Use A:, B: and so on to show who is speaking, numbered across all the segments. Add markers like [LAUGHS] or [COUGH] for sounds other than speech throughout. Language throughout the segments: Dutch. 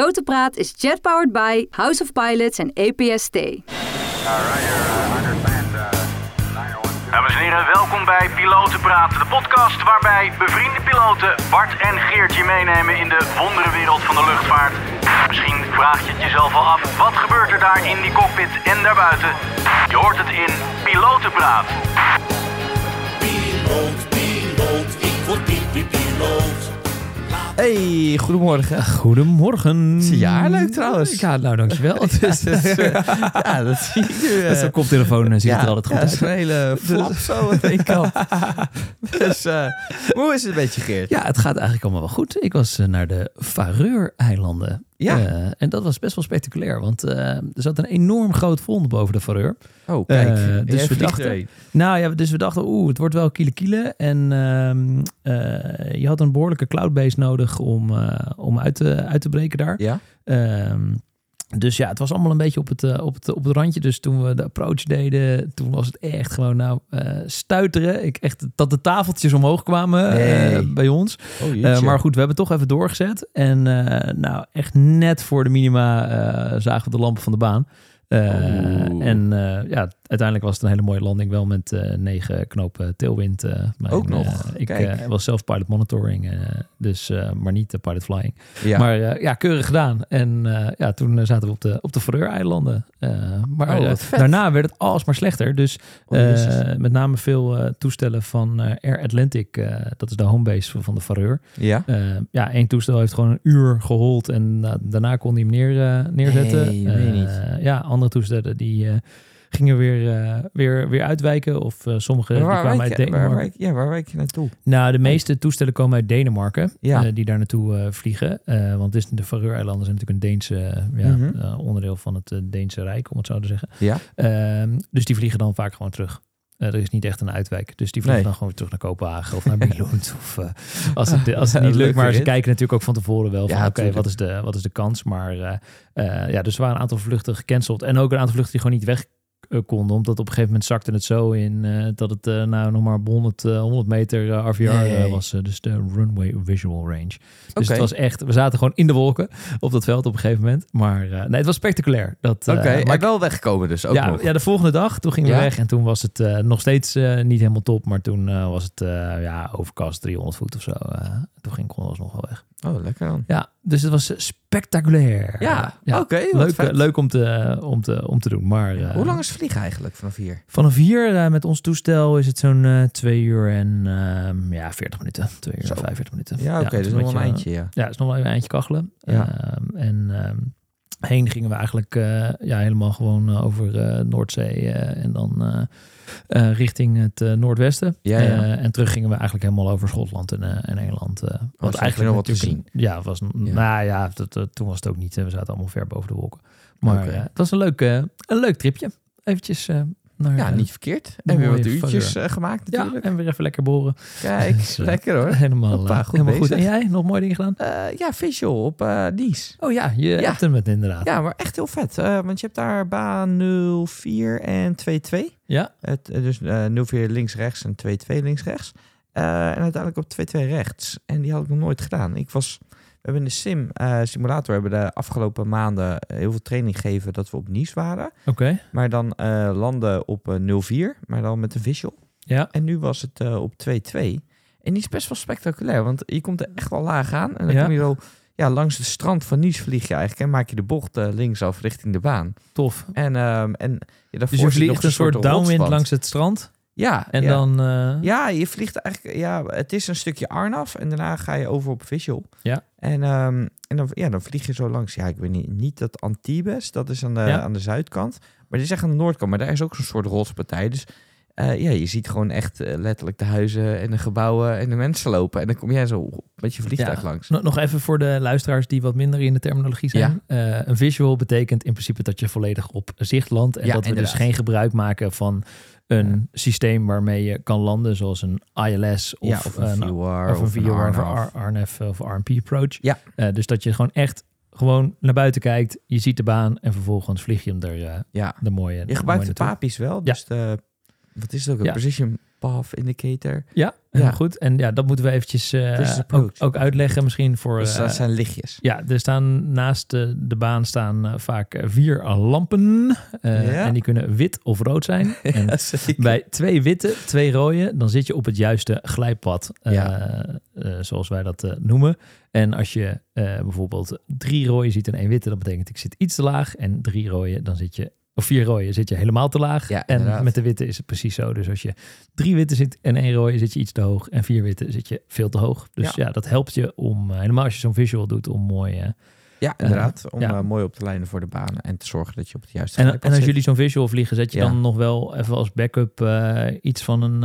A: Pilotenpraat is jetpowered by House of Pilots en EPST.
B: Dames en heren, welkom bij Pilotenpraat, de podcast waarbij bevriende piloten Bart en Geert je meenemen in de wonderenwereld van de luchtvaart. Misschien vraag je het jezelf al af, wat gebeurt er daar in die cockpit en daarbuiten? Je hoort het in Pilotenpraat.
C: Piloot, piloot, ik word pipi-piloot.
D: Hey, goedemorgen.
E: Goedemorgen.
D: Het is een jaar leuk trouwens.
E: Ja, nou
D: [LAUGHS]
E: dankjewel. Het is,
D: dat
E: [LAUGHS]
D: is, eh, ja, dat zie ik nu. eh.
E: met zo'n koptelefoon eh, ziet het er altijd goed
D: ja, dat
E: uit. Dus,
D: is een
E: [LAUGHS]
D: hele flap zo aan één kant. dus eh, hoe is het een beetje, Geert?
E: Ja, het gaat eigenlijk allemaal wel goed. Ik was eh, naar de Faroe-eilanden.
D: Ja.
E: Eh, en dat was best wel spectaculair, want eh, er zat een enorm groot front boven de Faroe.
D: Oh, kijk.
E: Eh,
D: Jij
E: dus we
D: vliegt
E: dachten-
D: erheen.
E: Nou ja, dus we dachten, oeh, het wordt wel kiele kiele. En ehm, eh, je had een behoorlijke cloudbase nodig om, eh, om uit, te, uit te breken daar.
D: Ja?
E: Ehm, dus ja, het was allemaal een beetje op het, eh, op, het, op het randje. Dus toen we de approach deden, toen was het echt gewoon nou eh, stuiteren. Ik echt dat de tafeltjes omhoog kwamen eh,
D: Nee.
E: bij ons.
D: Oh,
E: Eh,
D: jeetje.
E: maar goed, we hebben het toch even doorgezet. En eh, nou, echt net voor de minima eh, zagen we de lampen van de baan. Eh,
D: Oeh.
E: en eh, ja, uiteindelijk was het een hele mooie landing. Wel met eh, negen knopen tailwind. eh, mijn,
D: Ook nog.
E: eh, ik
D: Kijk.
E: eh, was zelf pilot monitoring, eh, dus, eh, maar niet de pilot flying.
D: ja.
E: Maar eh, ja, keurig gedaan. En eh, ja, toen eh, zaten we op de, op de Faroe-eilanden. Eh, maar
D: Oh,
E: eh,
D: wat vet.
E: daarna werd het alsmaar slechter. Dus
D: Oh,
E: eh,
D: jezus.
E: met name veel eh, toestellen van eh, Air Atlantic. eh, dat is de homebase van- van de Faroe.
D: ja?
E: Eh, ja, één toestel heeft gewoon een uur gehold en nou, daarna kon hij hem neer, eh, neerzetten.
D: Nee, meen je
E: Eh, Ja, andere toestellen die eh, gingen weer, eh, weer, weer uitwijken of eh sommige die
D: waar,
E: kwamen uit
D: wijk je, waar,
E: Denemarken.
D: wijk, ja, waar wijk je naartoe?
E: Nou, de meeste toestellen komen uit Denemarken,
D: Ja.
E: eh, die daar naartoe eh, vliegen. Eh, want het is, de Faroe-eilanden zijn natuurlijk een Deense eh, ja,
D: Mhm.
E: eh, onderdeel van het eh, Deense Rijk, om het zo te zeggen.
D: Ja.
E: Ehm, dus die vliegen dan vaak gewoon terug. Eh, er is niet echt een uitwijk. Dus die vliegen
D: Nee.
E: dan gewoon weer terug naar Kopenhagen of naar
D: [LAUGHS]
E: Billund. of, eh, als het, als het niet
D: Leuke
E: lukt. Maar ze
D: rit.
E: kijken natuurlijk ook van tevoren wel van...
D: Ja,
E: oké,
D: tuurlijk.
E: wat, is de- wat is de kans? Maar eh, eh, ja, dus er waren een aantal vluchten gecanceld. En ook een aantal vluchten die gewoon niet weg eh, konden. Omdat op een gegeven moment zakte het zo in... eh, dat het eh, nou nog maar op 100, eh, 100 meter eh, RVR eh,
D: Nee.
E: was. eh, dus de runway visual range. Dus
D: Oké.
E: het was echt... We zaten gewoon in de wolken op dat veld op een gegeven moment. Maar eh, nee, het was spectaculair. Dat, eh,
D: Oké,
E: maar
D: maar wel weggekomen dus ook
E: ja,
D: nog.
E: ja, de volgende dag, toen gingen
D: Ja?
E: we weg en toen was het eh, nog steeds eh, niet helemaal top. Maar toen eh, was het eh, ja, overkast 300 voet of zo. eh. toen ging kon ons nog wel weg.
D: Oh, lekker dan.
E: Ja, dus het was eh, spectaculair.
D: Ja, oké, wat
E: leuk,
D: vet.
E: eh, leuk om te, om te, om te doen. Maar eh,
D: Hoe lang is vliegen eigenlijk vanaf hier?
E: vanaf hier eh, met ons toestel is het zo'n eh, twee uur en ehm, ja, 40 minuten. Twee uur
D: Zo.
E: en 45 minuten.
D: Ja, oké,
E: het
D: dus
E: een
D: nog wel een
E: beetje,
D: eindje, ja.
E: ja, het is nog wel even een eindje kachelen.
D: Ja.
E: Ehm, en ehm, heen gingen we eigenlijk eh, ja, helemaal gewoon eh, over eh, Noordzee eh, en dan eh, eh, richting het eh, noordwesten.
D: Ja, ja.
E: Eh, en terug gingen we eigenlijk helemaal over Schotland en, eh, en Engeland. eh
D: was eigenlijk nog wat te
E: natuurlijk- Ja, was,
D: Ja.
E: Nou ja, dat, dat- toen was het ook niet. eh, We zaten allemaal ver boven de wolken. Maar
D: Oké.
E: eh, het was een leuk, eh, een leuk tripje. Eventjes eh, naar...
D: Ja,
E: eh,
D: niet verkeerd.
E: de
D: En weer wat
E: mooie
D: uurtjes
E: Faroe.
D: eh, gemaakt
E: ja, [LAUGHS]
D: natuurlijk.
E: en weer even lekker boren.
D: Kijk,
E: Dus, eh,
D: lekker hoor.
E: Helemaal,
D: Hoppa,
E: eh,
D: goed
E: helemaal goed.
D: bezig.
E: En jij, nog mooi dingen gedaan?
D: Eh, ja, Visual op eh Nice.
E: Oh ja, je
D: Ja.
E: hebt hem het inderdaad.
D: Ja, maar echt heel vet. eh, want je hebt daar baan 04 en 22.
E: ja.
D: Het, eh, dus eh 04 links-rechts en 22 links-rechts. Eh, en uiteindelijk op 22 rechts. En die had ik nog nooit gedaan. Ik was, we hebben in de sim eh, simulator hebben de afgelopen maanden eh, heel veel training gegeven dat we op Nice waren.
E: Oké,
D: Maar dan eh, landen op eh, 04, maar dan met een visual.
E: ja.
D: En nu was het eh, op 2-2. En die is best wel spectaculair, want je komt er echt wel laag aan. En dan
E: Ja.
D: kom je zo ja, langs het strand van Nice vlieg je eigenlijk. En maak je de bocht eh, linksaf richting de baan.
E: Tof.
D: En, ehm en ja, daarvoor
E: Dus je
D: zit nog
E: vliegt een soort downwind
D: rotswand.
E: langs het strand.
D: Ja,
E: En
D: ja.
E: dan... eh,
D: Ja, je vliegt eigenlijk... Ja, het is een stukje Arnaf en daarna ga je over op Visual.
E: Ja.
D: En, ehm, en dan, ja, dan vlieg je zo langs. Ja, ik weet niet, niet dat Antibes, dat is aan de,
E: Ja.
D: aan de zuidkant. Maar dit is echt aan de noordkant. Maar daar is ook zo'n soort rotspartij. Dus eh, ja, je ziet gewoon echt eh, letterlijk de huizen en de gebouwen en de mensen lopen. En dan kom jij zo met je vliegtuig
E: Ja.
D: langs.
E: Nog nog even voor de luisteraars die wat minder in de terminologie zijn. Eh, een visual betekent in principe dat je volledig op zicht landt. En
D: Ja,
E: dat we
D: inderdaad.
E: dus geen gebruik maken van een systeem waarmee je kan landen. Zoals een ILS of,
D: ja, of een
E: een,
D: VR.
E: of een VR of
D: Arnaf.
E: een RNF eh, of RMP approach.
D: Ja.
E: Eh, dus dat je gewoon echt gewoon naar buiten kijkt. Je ziet de baan en vervolgens vlieg je hem er eh,
D: Ja.
E: de mooie
D: Je
E: mooie
D: gebruikt de
E: naartoe.
D: papies wel.
E: Ja.
D: Dus de, wat is het ook? Een
E: Ja.
D: precision path indicator.
E: Ja,
D: Ja.
E: ja. goed. En ja, dat moeten we eventjes eh,
D: This is
E: ook,
D: approach.
E: ook uitleggen misschien voor...
D: Dus
E: eh,
D: dat zijn
E: [LAUGHS]
D: lichtjes.
E: ja, er staan naast de, de baan staan eh, vaak vier lampen. eh,
D: Ja.
E: En die kunnen wit of rood zijn.
D: [LAUGHS]
E: En
D: Ja, zeker.
E: bij twee witte, twee rode, dan zit je op het juiste glijpad. eh,
D: Ja.
E: eh, zoals wij dat eh, noemen. En als je eh, bijvoorbeeld drie rode ziet en één witte, dan betekent ik zit iets te laag. En drie rode, dan zit je. Of vier rode zit je helemaal te laag.
D: Ja, inderdaad.
E: en met de witte is het precies zo. Dus als je drie witte zit en één rode, zit je iets te hoog. En vier witte zit je veel te hoog. Dus ja, dat helpt je om, eh, helemaal als je zo'n visual doet, om mooi... eh,
D: Ja, inderdaad. Om
E: ja.
D: eh, mooi op te lijnen voor de banen en te zorgen dat je op het juiste
E: En,
D: glijpad
E: en als
D: zit.
E: jullie zo'n visual vliegen, zet je
D: Ja.
E: dan nog wel even als backup eh, iets van een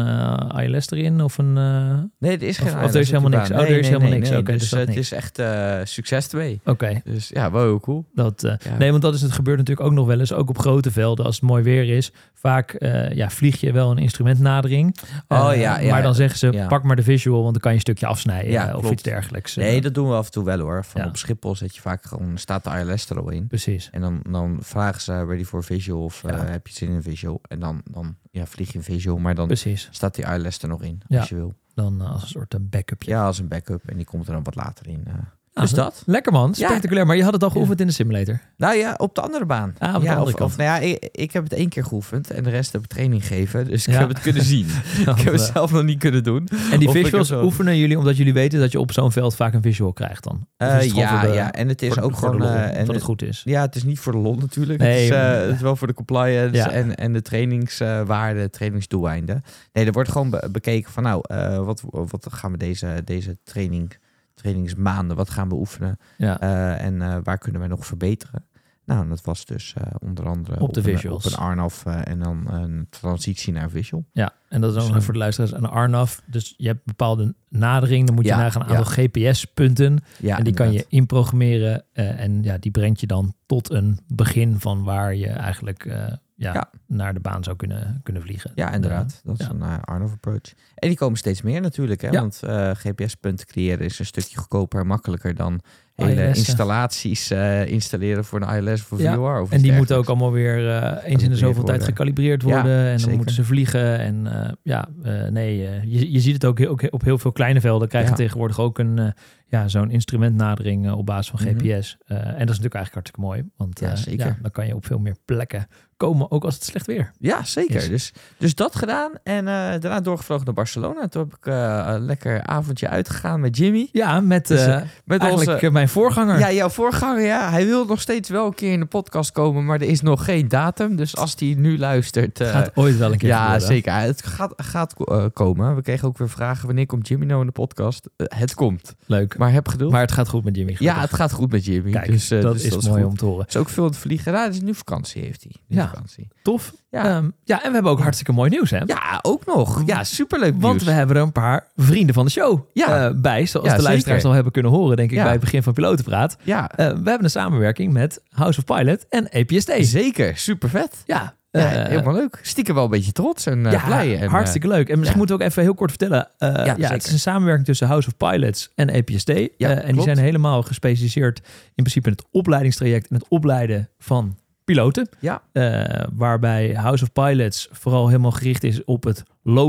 E: eh ILS erin? Of een, eh,
D: Nee, er is
E: Of-
D: geen
E: of er is
D: eiland op de
E: helemaal
D: baan.
E: niks. Oh,
D: Nee,
E: er is
D: nee,
E: helemaal
D: nee,
E: niks.
D: nee.
E: Oké,
D: dus
E: dus dat
D: het
E: niks.
D: is echt eh, succes 2.
E: Oké,
D: Dus ja, wel heel cool.
E: dat... eh,
D: Ja.
E: Nee, want dat is het gebeurt natuurlijk ook nog wel eens, ook op grote velden als het mooi weer is. Vaak eh, ja, vlieg je wel een instrumentnadering.
D: Oh,
E: Eh,
D: ja, ja,
E: maar dan zeggen ze:
D: ja.
E: pak maar de visual, want dan kan je een stukje afsnijden
D: Ja,
E: eh, of
D: klopt.
E: iets dergelijks. Eh,
D: Nee, dat doen we af en toe wel hoor. Van
E: Ja.
D: Op Schiphol zet je vaak gewoon, staat de ILS er al in.
E: Precies.
D: En dan, dan vragen ze, ben je voor visual of eh, heb je zin in visual? En dan, dan ja, vlieg je in visual, maar dan
E: Precies.
D: staat die ILS er nog in,
E: Ja.
D: als je wil.
E: Dan eh, als een soort eh, backupje.
D: Ja, als een backup en die komt er dan wat later in. eh.
E: Nou,
D: dus dat?
E: Lekker man, spectaculair. Maar je had het al geoefend in de
D: [LAUGHS]
E: simulator.
D: Nou ja, op de andere baan.
E: Ah, op de
D: ja,
E: andere
D: of,
E: kant.
D: of nou ja, ik, ik heb het één keer geoefend en de rest heb ik training gegeven. Dus ik
E: Ja.
D: heb het
E: [LAUGHS]
D: kunnen zien. ik heb het
E: eh,
D: zelf nog niet kunnen doen.
E: En die
D: Of ik
E: visuals
D: heb zo-
E: oefenen jullie omdat jullie weten dat je op zo'n veld vaak een visual krijgt dan? Of is
D: Eh,
E: het gewoon
D: ja,
E: voor de-
D: ja, en het is
E: voor de-
D: ook
E: voor de
D: gewoon...
E: lol,
D: eh, en
E: dat het goed is.
D: Ja, het is niet voor de lol natuurlijk.
E: Nee,
D: het, is, eh,
E: maar-
D: het is wel voor de compliance
E: Ja.
D: en, en de trainingswaarde, trainingsdoeleinden. Nee, er wordt gewoon be- bekeken van nou, eh, wat, wat gaan we deze, deze training, trainingsmaanden, wat gaan we oefenen?
E: Ja.
D: Eh, en eh, waar kunnen wij nog verbeteren? Nou, en dat was dus eh, onder andere
E: Op de
D: een-
E: visuals.
D: op een Arnaf eh, en dan een transitie naar visual.
E: Ja, en dat is ook nog
D: Zo.
E: even voor de luisteraars. Een Arnaf, dus je hebt bepaalde nadering. Dan moet je
D: Ja,
E: nagaan aan
D: ja.
E: aantal GPS-punten.
D: Ja,
E: en die kan je
D: inderdaad.
E: inprogrammeren. eh, en ja, die brengt je dan tot een begin van waar je eigenlijk eh, ja,
D: Ja.
E: naar de baan zou kunnen, kunnen vliegen.
D: Ja, inderdaad. Dat is
E: ja.
D: een eh, Arnaf approach. En die komen steeds meer natuurlijk. Hè?
E: Ja.
D: Want eh, GPS-punten creëren is een stukje goedkoper en makkelijker dan
E: ILS,
D: hele
E: ja.
D: installaties eh, installeren voor een ILS of een
E: Ja,
D: VR. Of
E: En die moeten ook allemaal weer eh, eens in de zoveel tijd
D: worden.
E: gekalibreerd
D: Ja,
E: worden. en dan
D: zeker.
E: moeten ze vliegen. En eh, ja, eh, nee, eh, je, je ziet het ook, heel- ook op heel veel kleine velden. Krijgen
D: Ja.
E: tegenwoordig ook een, eh, ja, zo'n instrumentnadering eh, op basis van
D: Mhm.
E: GPS. Eh, en dat is natuurlijk eigenlijk hartstikke mooi. Want
D: Ja,
E: eh,
D: zeker.
E: ja, dan kan je op veel meer plekken komen. Ook als het slecht weer.
D: Ja, zeker.
E: Yes.
D: Dus, dus dat gedaan. En eh, daarna doorgevlogen naar Barcelona. Toen heb ik eh, een lekker avondje uitgegaan met Jimmy.
E: Ja, met,
D: Dus,
E: eh,
D: eh, Met
E: eigenlijk eh, mijn voorganger.
D: Ja, jouw voorganger, ja. Hij wil nog steeds wel een keer in de podcast komen, maar er is nog geen datum. Dus als hij nu luistert... eh,
E: Gaat ooit wel een keer
D: Ja,
E: gebeuren.
D: zeker. Het gaat, gaat eh, komen. We kregen ook weer vragen, wanneer komt Jimmy nou in de podcast? Eh, het komt.
E: Leuk.
D: Maar heb geduld.
E: Maar het gaat goed met Jimmy.
D: ja,
E: gelukkig.
D: het gaat goed met Jimmy.
E: Kijk,
D: dus, eh,
E: dat
D: dus
E: is mooi
D: goed.
E: om te horen.
D: Het is ook veel aan het vliegen. Ja, het is nu vakantie, heeft hij. Nu
E: Ja.
D: Vakantie.
E: Tof.
D: Ja.
E: Ja. ja, en we hebben ook hartstikke mooi nieuws, hè?
D: ja, ook nog. Ja, superleuk nieuws.
E: Mm-hmm. Want we hebben er een paar vrienden van de show
D: Ja.
E: eh, bij. Zoals
D: Ja,
E: de luisteraars
D: zeker.
E: al hebben kunnen horen, denk ik,
D: Ja.
E: bij het begin van Pilotenpraat.
D: Ja,
E: Eh, we hebben een samenwerking met House of Pilot en E APST.
D: zeker. Super vet.
E: Ja,
D: Ja,
E: eh,
D: helemaal leuk. Stiekem wel een beetje trots en eh,
E: ja,
D: blij. En, eh,
E: hartstikke leuk. En misschien
D: ja.
E: moeten we ook even heel kort vertellen. eh, ja,
D: zeker.
E: het is een samenwerking tussen House of Pilots en APST. Eh, en die
D: klopt.
E: zijn helemaal gespecialiseerd in principe in het opleidingstraject en het opleiden van piloten.
D: Ja.
E: Eh, waarbij House of Pilots vooral helemaal gericht is op het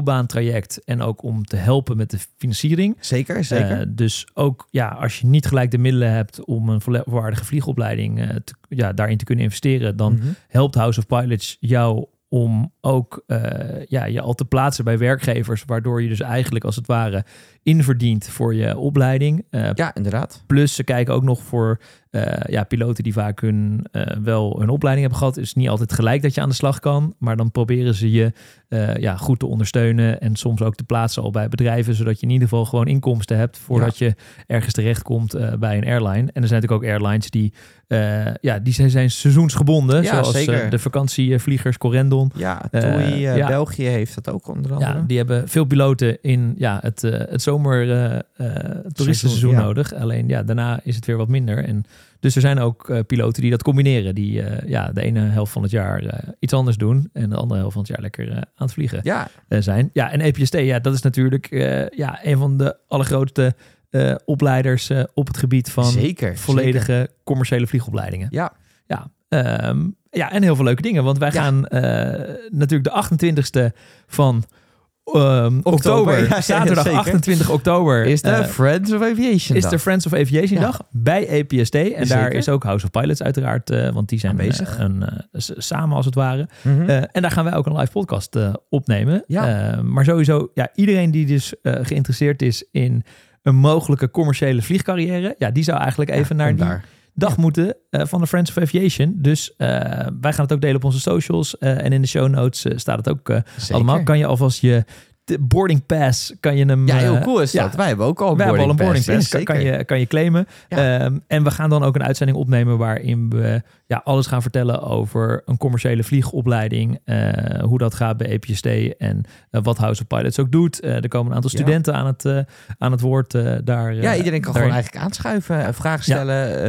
E: loopbaantraject en ook om te helpen met de financiering.
D: zeker, zeker.
E: Eh, dus ook ja, als je niet gelijk de middelen hebt om een volwaardige vliegopleiding eh, te- ja, daarin te kunnen investeren, dan
D: Mhm.
E: helpt House of Pilots jou om ook eh, ja, je al te plaatsen bij werkgevers, waardoor je dus eigenlijk als het ware inverdient voor je opleiding. Eh,
D: Ja, inderdaad.
E: Plus ze kijken ook nog voor eh, ja, piloten die vaak hun, eh, wel hun opleiding hebben gehad. Het is niet altijd gelijk dat je aan de slag kan. Maar dan proberen ze je eh, ja, goed te ondersteunen. En soms ook te plaatsen al bij bedrijven. Zodat je in ieder geval gewoon inkomsten hebt. Voordat je ergens terechtkomt eh bij een airline. En er zijn natuurlijk ook airlines die, eh, ja, die zijn, zijn seizoensgebonden.
D: Ja,
E: zoals eh,
D: zeker.
E: de vakantievliegers Corendon.
D: Ja, TUI,
E: Eh,
D: eh,
E: ja.
D: België heeft dat ook onder andere.
E: Ja, die hebben veel piloten in ja, het, eh, het zomer eh, eh, toeristenseizoen
D: Seizoen, ja.
E: nodig. Alleen ja, daarna is het weer wat minder. En, dus er zijn ook eh, piloten die dat combineren. Die eh, ja, de ene helft van het jaar eh, iets anders doen. En de andere helft van het jaar lekker eh, aan het vliegen
D: ja,
E: eh, zijn. Ja, en EPST, ja, dat is natuurlijk eh, ja, een van de allergrootste eh, opleiders eh, op het gebied van
D: zeker.
E: volledige commerciële vliegopleidingen.
D: Ja.
E: Ja, ehm, ja, en heel veel leuke dingen. Want wij
D: Ja.
E: gaan eh, natuurlijk de 28e van ehm, oktober,
D: Oktober, [LAUGHS] ja,
E: zaterdag
D: zeker.
E: 28 oktober,
D: Is de
E: eh,
D: Friends of Aviation
E: is
D: dag.
E: de Friends of Aviation
D: Ja.
E: dag bij E APSD. En daar
D: Zeker.
E: is ook House of Pilots uiteraard, eh, want die zijn
D: Aanwezig.
E: bezig een, eh, s- samen als het ware.
D: Mhm.
E: Eh, en daar gaan wij ook een live podcast eh, opnemen.
D: Ja.
E: Eh, maar sowieso, ja, iedereen die dus eh, geïnteresseerd is in een mogelijke commerciële vliegcarrière, ja, die zou eigenlijk even naar
D: Kom
E: die
D: daar.
E: dag moeten eh, van de Friends of Aviation. Dus eh, wij gaan het ook delen op onze socials eh, en in de show notes eh, staat het ook eh,
D: Zeker.
E: allemaal. Kan je alvast je de boarding pass, kan je hem...
D: Ja, heel
E: eh,
D: cool is
E: ja.
D: dat. Wij hebben ook al een
E: Wij hebben al een boarding pass,
D: hè,
E: kan, kan
D: zeker.
E: je, kan je claimen.
D: Ja.
E: Ehm, en we gaan dan ook een uitzending opnemen waarin we ja, alles gaan vertellen over een commerciële vliegopleiding, eh, hoe dat gaat bij EPSD en eh, wat House of Pilots ook doet. Eh, er komen een aantal
D: Ja.
E: studenten aan, het, eh, aan het woord eh, daar. eh,
D: Ja, iedereen kan
E: daarin.
D: gewoon eigenlijk aanschuiven, eh,
E: Ja.
D: vragen stellen,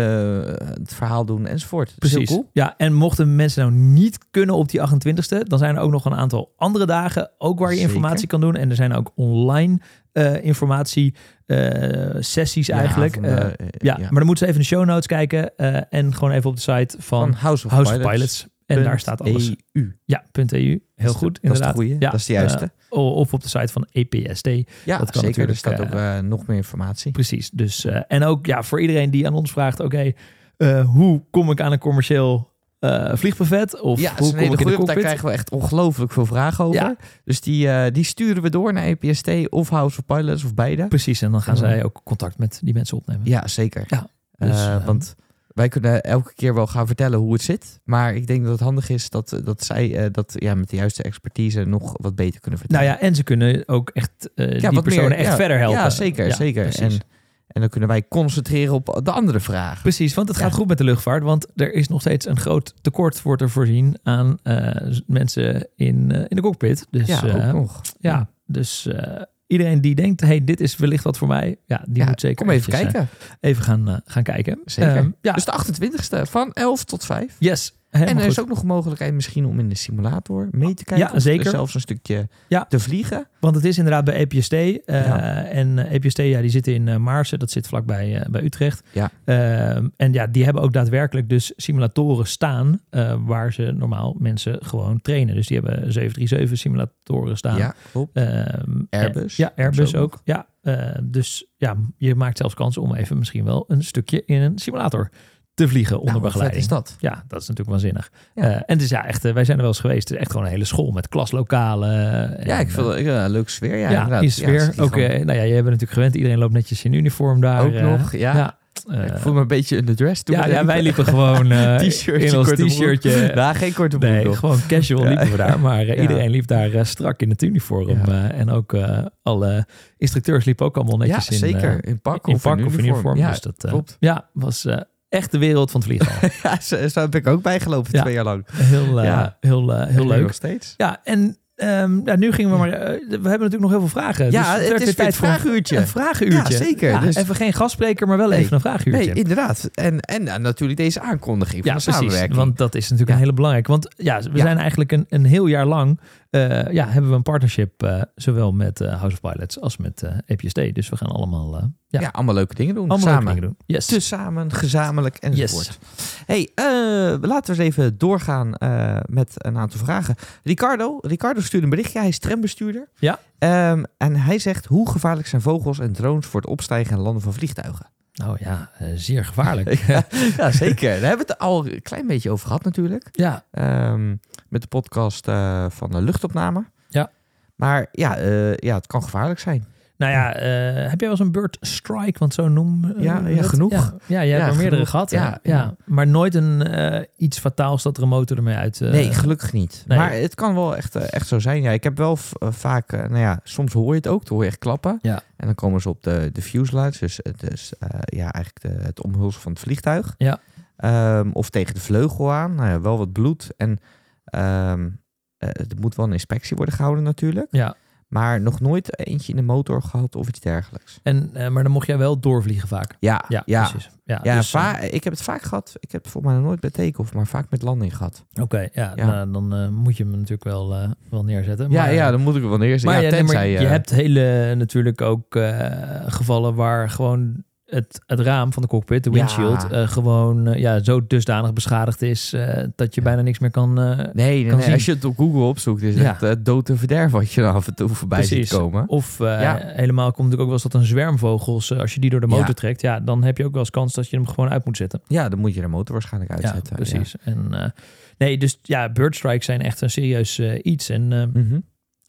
D: eh, het verhaal doen enzovoort. Dat is heel
E: Precies.
D: cool.
E: Ja, en mochten mensen nou niet kunnen op die 28e, dan zijn er ook nog een aantal andere dagen, ook waar je
D: Zeker.
E: informatie kan doen. En er zijn ook online eh, informatie eh, sessies
D: Ja,
E: eigenlijk.
D: van de,
E: Eh,
D: eh,
E: ja,
D: ja.
E: maar dan moeten ze even in de show notes kijken eh, en gewoon even op de site van,
D: Van House of
E: House
D: Pilots. E
E: of Pilots. En daar staat alles.
D: EU.
E: Ja, .eu. Heel goed,
D: Dat is de
E: inderdaad.
D: goeie,
E: Ja,
D: dat is de juiste.
E: eh, of op de site van E EPSD. dat kan
D: ja, zeker. Er
E: natuurlijk,
D: staat ook
E: eh,
D: eh, nog meer informatie.
E: Precies. Dus, eh, en ook ja, voor iedereen die aan ons vraagt: oké, eh, hoe kom ik aan een commercieel eh, vliegbuffet? Of
D: ja,
E: hoe
D: het is een
E: kom
D: hele
E: ik in
D: goeie,
E: de
D: want daar
E: cockpit?
D: krijgen we echt ongelooflijk veel vragen over.
E: Ja.
D: Dus die, eh, die sturen we door naar E EPST of House of Pilots of beide.
E: Precies. En dan gaan
D: En dan-
E: zij ook contact met die mensen opnemen.
D: Ja, zeker.
E: Ja, dus,
D: Eh,
E: ehm,
D: want wij kunnen elke keer wel gaan vertellen hoe het zit. Maar ik denk dat het handig is dat, dat zij eh, dat ja, met de juiste expertise nog wat beter kunnen
E: Nou
D: vertellen.
E: ja, en ze kunnen ook echt eh, die
D: wat
E: personen echt
D: ja,
E: verder helpen.
D: Ja, zeker.
E: Ja,
D: zeker. En,
E: precies.
D: en dan kunnen wij concentreren op de andere vraag.
E: Precies, want het gaat
D: Ja.
E: goed met de luchtvaart. Want er is nog steeds een groot tekort, wordt er voorzien aan eh, mensen in, eh, in de cockpit. Dus
D: ja,
E: eh,
D: ook nog.
E: ja, dus eh, iedereen die denkt, hey, dit is wellicht wat voor mij. Ja, die
D: Ja,
E: moet zeker
D: Kom even
E: eventjes, eh,
D: kijken.
E: even gaan, eh, gaan kijken.
D: Zeker.
E: Ehm, ja,
D: Dus de 28e van 11 tot 5.
E: yes.
D: en
E: Helemaal
D: er is
E: goed.
D: ook nog een mogelijkheid misschien om in de simulator mee te kijken.
E: Ja,
D: of
E: zeker.
D: zelfs een stukje
E: Ja.
D: te vliegen.
E: Want het is inderdaad bij EPST. eh,
D: Ja.
E: En eh, EPST, ja, die zitten in eh, Maarsen. Dat zit vlakbij eh, bij Utrecht.
D: Ja.
E: Ehm, en ja, die hebben ook daadwerkelijk dus simulatoren staan... eh, waar ze normaal mensen gewoon trainen. Dus die hebben 737-simulatoren staan.
D: Ja, klopt.
E: Ehm,
D: Airbus.
E: Ja, Airbus
D: Zo nog.
E: ook. Ja, eh, dus ja, je maakt zelfs kans om even misschien wel een stukje in een simulator te vliegen onder
D: Nou, wat vet
E: begeleiding.
D: is dat?
E: Ja, dat is natuurlijk waanzinnig.
D: Ja.
E: Eh, en het is ja, echt, eh, wij zijn er wel eens geweest. Het is echt gewoon een hele school met klaslokalen. eh,
D: Ja,
E: en,
D: ik vind
E: eh,
D: het ja, een leuke sfeer.
E: ja,
D: Ja, inderdaad.
E: in
D: Ja,
E: sfeer.
D: zit hier
E: ook,
D: gewoon-
E: eh, nou ja, je bent natuurlijk gewend. Iedereen loopt netjes in uniform daar.
D: Ook
E: eh,
D: nog, ja.
E: eh,
D: ik voel me een beetje in de dress toen.
E: ja,
D: we
E: ja,
D: liepen.
E: wij liepen gewoon
D: [LAUGHS]
E: eh,
D: T-shirtje,
E: in ons
D: korte broek. [LAUGHS]
E: t-shirtje.
D: Nou, geen korte broek
E: Nee,
D: nog.
E: gewoon casual
D: Ja.
E: liepen we daar. Maar eh,
D: Ja.
E: iedereen liep daar eh, strak in het uniform.
D: Ja.
E: eh, en ook eh, alle instructeurs liepen ook allemaal
D: Ja,
E: netjes in,
D: zeker.
E: eh,
D: in pak
E: in
D: of
E: pak of in uniform.
D: Ja,
E: dus dat, eh,
D: klopt.
E: ja, was eh, echt de wereld van het vliegen.
D: [LAUGHS] ja, zo, zo heb ik ook bijgelopen
E: Ja.
D: twee jaar lang.
E: heel eh,
D: Ja.
E: heel, eh,
D: En
E: heel
D: nu
E: leuk.
D: Nog steeds.
E: Ja, en ehm, ja, nu gingen we maar... eh, we hebben natuurlijk nog heel veel vragen.
D: Ja,
E: dus
D: het
E: werd
D: is
E: weer
D: weer
E: tijd
D: het
E: voor een-
D: vragenuurtje.
E: Een vragenuurtje.
D: Ja, zeker. Dus-
E: Even geen gastspreker, maar wel
D: Nee.
E: even een vragenuurtje.
D: Nee, inderdaad. En, en eh, natuurlijk deze aankondiging
E: Ja,
D: van de
E: precies.
D: samenwerking.
E: Want dat is natuurlijk
D: Ja.
E: een hele belangrijk. Want ja, we
D: Ja.
E: zijn eigenlijk een, een heel jaar lang. eh, ja, hebben we een partnership. eh, zowel met eh, House of Pilots als met eh EPSD. Dus we gaan allemaal. eh, ja,
D: ja. allemaal leuke dingen doen.
E: allemaal
D: samen. Dus-
E: leuke dingen doen. Yes.
D: Te samen, gezamenlijk enzovoort.
E: Yes.
D: Hey, eh, laten we eens even doorgaan eh, met een aantal vragen. Ricardo, Ricardo stuurde een berichtje. Hij is trambestuurder.
E: Ja.
D: Ehm, en hij zegt, hoe gevaarlijk zijn vogels en drones voor het opstijgen en landen van vliegtuigen?
E: Nou ja, eh, zeer gevaarlijk.
D: [LAUGHS] ja, ja, zeker. Daar hebben we het al een klein beetje over gehad natuurlijk.
E: ja,
D: Ehm, met de podcast eh, van de luchtopname.
E: Ja.
D: Maar ja, eh, ja, het kan gevaarlijk zijn.
E: nou ja, eh, heb jij wel eens een bird strike? Want zo noem eh,
D: Ja, ja,
E: dat?
D: genoeg.
E: Ja, ja jij
D: Ja,
E: hebt er meerdere
D: genoeg.
E: gehad. hè?
D: Ja,
E: Ja,
D: ja.
E: maar nooit een eh, iets fataals dat er een motor ermee uit. eh,
D: nee, gelukkig niet.
E: nee.
D: Maar het kan wel echt, eh, echt zo zijn. Ja, ik heb wel v- eh, vaak, eh, nou ja, soms hoor je het ook. Dan hoor je echt klappen.
E: Ja.
D: En dan komen ze op de, de fuselage. Dus, eh, dus eh, ja, eigenlijk de, het omhulsel van het vliegtuig.
E: Ja.
D: Ehm, of tegen de vleugel aan. Nou ja, wel wat bloed. En ehm, eh, er moet wel een inspectie worden gehouden natuurlijk.
E: Ja.
D: Maar nog nooit eentje in de motor gehad of iets dergelijks.
E: En, eh, maar dan mocht jij wel doorvliegen vaak.
D: Ja, ja,
E: Ja, precies. Ja,
D: Ja,
E: dus, eh,
D: va- ik heb het vaak gehad. Ik heb het volgens mij nog nooit bij take-off, maar vaak met landing gehad.
E: Oké, ja,
D: Ja.
E: nou, dan eh, moet je hem natuurlijk wel, eh, wel neerzetten.
D: Ja,
E: maar, eh,
D: ja, dan moet ik wel eerst.
E: maar,
D: ja, eh,
E: ja, nee,
D: tenzij,
E: maar je
D: eh,
E: hebt hele natuurlijk ook eh, gevallen waar gewoon eh, het, het raam van de cockpit, de
D: Ja.
E: windshield, eh, gewoon eh, ja, zo dusdanig beschadigd is eh, dat je bijna niks meer kan. eh,
D: Nee, nee,
E: Kan
D: nee, als je
E: zien.
D: het op Google opzoekt, is
E: Ja.
D: het eh, dood en verderf wat je er af en toe voorbij ziet
E: Precies.
D: komen.
E: of eh,
D: Ja.
E: helemaal komt natuurlijk ook wel eens dat een zwermvogels, eh, als je die door de motor
D: Ja.
E: trekt, ja, dan heb je ook wel eens kans dat je hem gewoon uit moet zetten.
D: Ja, dan moet je de motor waarschijnlijk
E: Ja,
D: uitzetten. ja.
E: precies. En, eh, nee, dus ja, birdstrikes zijn echt een serieus eh, iets. En eh,
D: Mhm.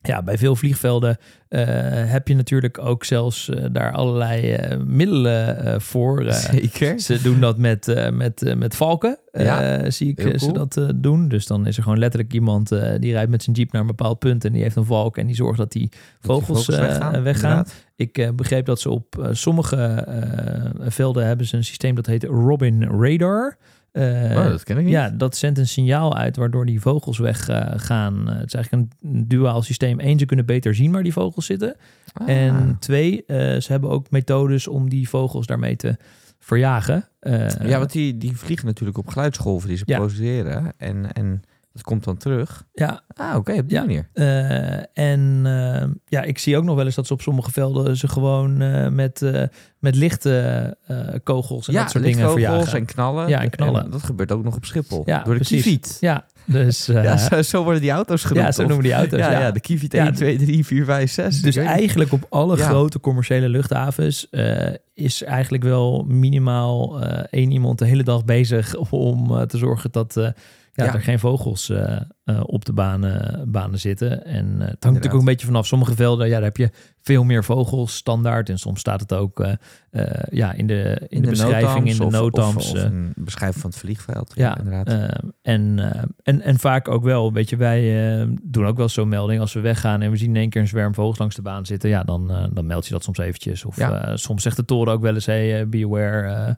E: ja, bij veel vliegvelden eh, heb je natuurlijk ook zelfs eh, daar allerlei eh, middelen eh, voor. eh.
D: [LAUGHS] Zeker.
E: ze doen dat met, eh, met, eh, met valken, eh,
D: Ja,
E: zie ik
D: heel
E: eh, ze
D: cool.
E: dat eh, doen. Dus dan is er gewoon letterlijk iemand eh, die rijdt met zijn jeep naar een bepaald punt en die heeft een valk en die zorgt dat die vogels, eh, weggaan.
D: inderdaad.
E: Ik eh, begreep dat ze op eh, sommige eh, velden hebben ze een systeem dat heet Robin Radar. Eh,
D: Oh, dat ken ik niet.
E: ja, dat zendt een signaal uit waardoor die vogels weggaan. gaan. Eh, het is eigenlijk een duaal systeem. Eén, ze kunnen beter zien waar die vogels zitten.
D: Ah.
E: En twee, eh, ze hebben ook methodes om die vogels daarmee te verjagen. Eh,
D: ja, want die, die vliegen natuurlijk op geluidsgolven die ze
E: Ja.
D: produceren. En, en dat komt dan terug.
E: ja,
D: Ah, oké, op die
E: Ja.
D: manier.
E: Eh, en eh, ja, ik zie ook nog wel eens dat ze op sommige velden ze gewoon eh, met, eh, met lichte eh, kogels en
D: ja,
E: dat soort dingen
D: lichtvogels
E: verjagen.
D: en knallen.
E: Ja, en knallen.
D: dat gebeurt ook nog op Schiphol.
E: Ja,
D: door de
E: precies.
D: Kiviet.
E: Ja,
D: [LAUGHS]
E: dus eh,
D: Ja,
E: ja,
D: zo, zo worden die auto's genoemd.
E: zo
D: of-
E: noemen die auto's.
D: ja, ja.
E: ja.
D: de Kiviet
E: Ja,
D: 1, 2, 3, 4, 5, 6.
E: Dus
D: Ik weet niet.
E: eigenlijk op alle
D: Ja.
E: grote commerciële luchthavens eh, is eigenlijk wel minimaal eh, één iemand de hele dag bezig [LAUGHS] om eh, te zorgen dat eh, ja,
D: Ja.
E: er geen vogels eh, eh, op de banen, banen zitten. En eh, het hangt natuurlijk ook een beetje vanaf. Sommige velden, ja, daar heb je veel meer vogels standaard. En soms staat het ook eh, eh, ja, in de, in de, beschrijving, in de
D: nootams of-
E: notams.
D: Of, of
E: eh,
D: een beschrijving van het vliegveld. Ja,
E: ja,
D: inderdaad.
E: eh, en, eh, en, en vaak ook wel, weet je, wij eh, doen ook wel zo'n melding. Als we weggaan en we zien in één keer een zwerm vogels langs de baan zitten, ja, dan, eh, dan meld je dat soms eventjes. Of
D: Ja.
E: eh, soms zegt de toren ook wel eens, hey, eh, be aware, eh,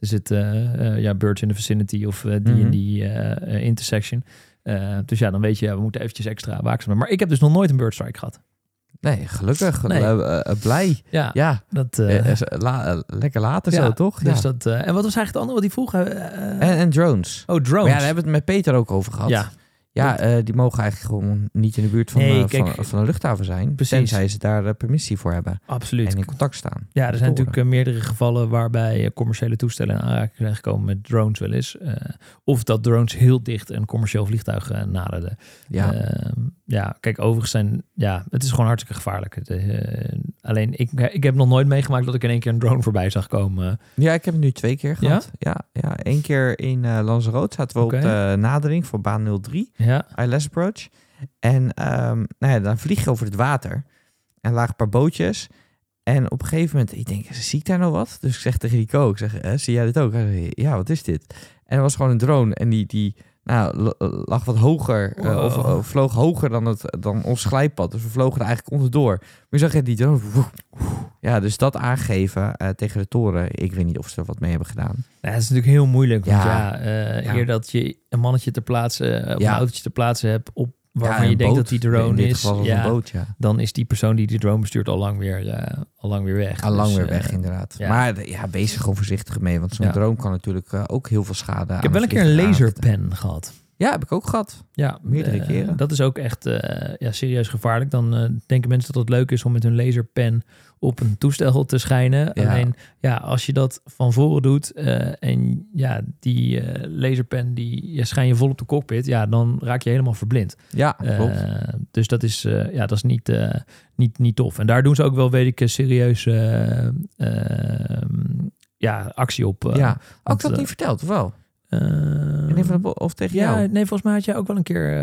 E: er zit eh, eh, ja, birds in the vicinity of eh, die
D: Mhm.
E: in die eh, eh, intersection. Eh, dus ja, dan weet je, ja, we moeten eventjes extra waakzaam zijn. Maar ik heb dus nog nooit een bird strike gehad.
D: nee, gelukkig.
E: Nee.
D: Eh, eh, blij.
E: Ja,
D: Ja,
E: dat... eh,
D: eh, eh, la- eh, lekker later
E: ja,
D: zo, toch?
E: Dus
D: ja.
E: dat, eh, en wat was eigenlijk het andere wat die vroeg? Eh, eh,
D: en, en drones.
E: oh, drones.
D: Maar ja, daar hebben we het met Peter ook over gehad.
E: Ja.
D: Ja, eh, die mogen eigenlijk gewoon niet in de buurt van,
E: Nee,
D: eh,
E: kijk,
D: van, van een luchthaven zijn.
E: precies.
D: Tenzij ze daar eh, permissie voor hebben
E: absoluut.
D: en in contact staan.
E: Ja, er zijn
D: Toren.
E: natuurlijk eh, meerdere gevallen waarbij eh, commerciële toestellen in aanraking zijn gekomen met drones wel eens. Eh, of dat drones heel dicht een commercieel vliegtuig eh, naderden.
D: Ja,
E: Ehm, ja, kijk, overigens zijn, ja, het is gewoon hartstikke gevaarlijk. Het, eh, alleen, ik, ik heb nog nooit meegemaakt dat ik in één keer een drone voorbij zag komen.
D: ja ik heb het nu twee keer gehad. Ja, ja, één keer in eh, Lanzarote zaten we
E: Oké.
D: op de nadering voor baan 03,
E: Ja,
D: ILS Approach. En ehm, nou ja, dan vlieg je over het water. En lagen een paar bootjes. En op een gegeven moment, ik denk, zie ik daar nou wat? Dus ik zeg tegen Rico, ik zeg, eh, zie jij dit ook? Hij zegt, ja, wat is dit? En er was gewoon een drone en die, die nou, l- lag wat hoger, eh, of
E: Wow.
D: eh, vloog hoger dan, het, dan ons glijpad. Dus we vlogen er eigenlijk onderdoor. Maar je zag je die drone, woe, woe. ja, dus dat aangeven eh, tegen de toren. Ik weet niet of ze er wat mee hebben gedaan.
E: nou, het is natuurlijk heel moeilijk. Want ja,
D: Ja.
E: eh,
D: Ja.
E: eer dat je een mannetje ter plaatse, eh, of
D: Ja.
E: een autootje ter plaatse hebt op waarvan
D: Ja,
E: je
D: een
E: denkt dat
D: boot.
E: die drone
D: In dit
E: is.
D: geval was het
E: ja,
D: een boot, ja.
E: dan is die persoon die die drone bestuurt al lang weer, eh, al lang weer weg.
D: Al lang
E: Dus,
D: weer
E: eh,
D: weg, inderdaad.
E: ja.
D: Maar de- ja, wees er gewoon voorzichtig mee. Want zo'n
E: Ja.
D: drone kan natuurlijk eh, ook heel veel schade
E: Ik heb wel een keer een laserpen gehad.
D: Ja, heb ik ook gehad.
E: Ja,
D: Meerdere
E: eh,
D: keren.
E: Dat is ook echt eh, ja, serieus gevaarlijk. Dan eh, denken mensen dat het leuk is om met hun laserpen op een toestel te schijnen.
D: Ja.
E: Alleen ja, als je dat van voren doet eh, en ja, die eh, laserpen die ja, schijn je vol op de cockpit, ja, dan raak je helemaal verblind.
D: Ja,
E: Eh,
D: klopt.
E: dus dat is, eh, ja, dat is niet, eh, niet, niet tof. En daar doen ze ook wel, weet ik, eh, serieus eh, eh, ja, actie op. eh.
D: ja. Ook
E: want,
D: dat
E: eh,
D: niet verteld, of wel?
E: Eh,
D: In een van de bo- of tegen
E: ja,
D: jou?
E: nee, volgens mij had jij ook wel een keer. eh,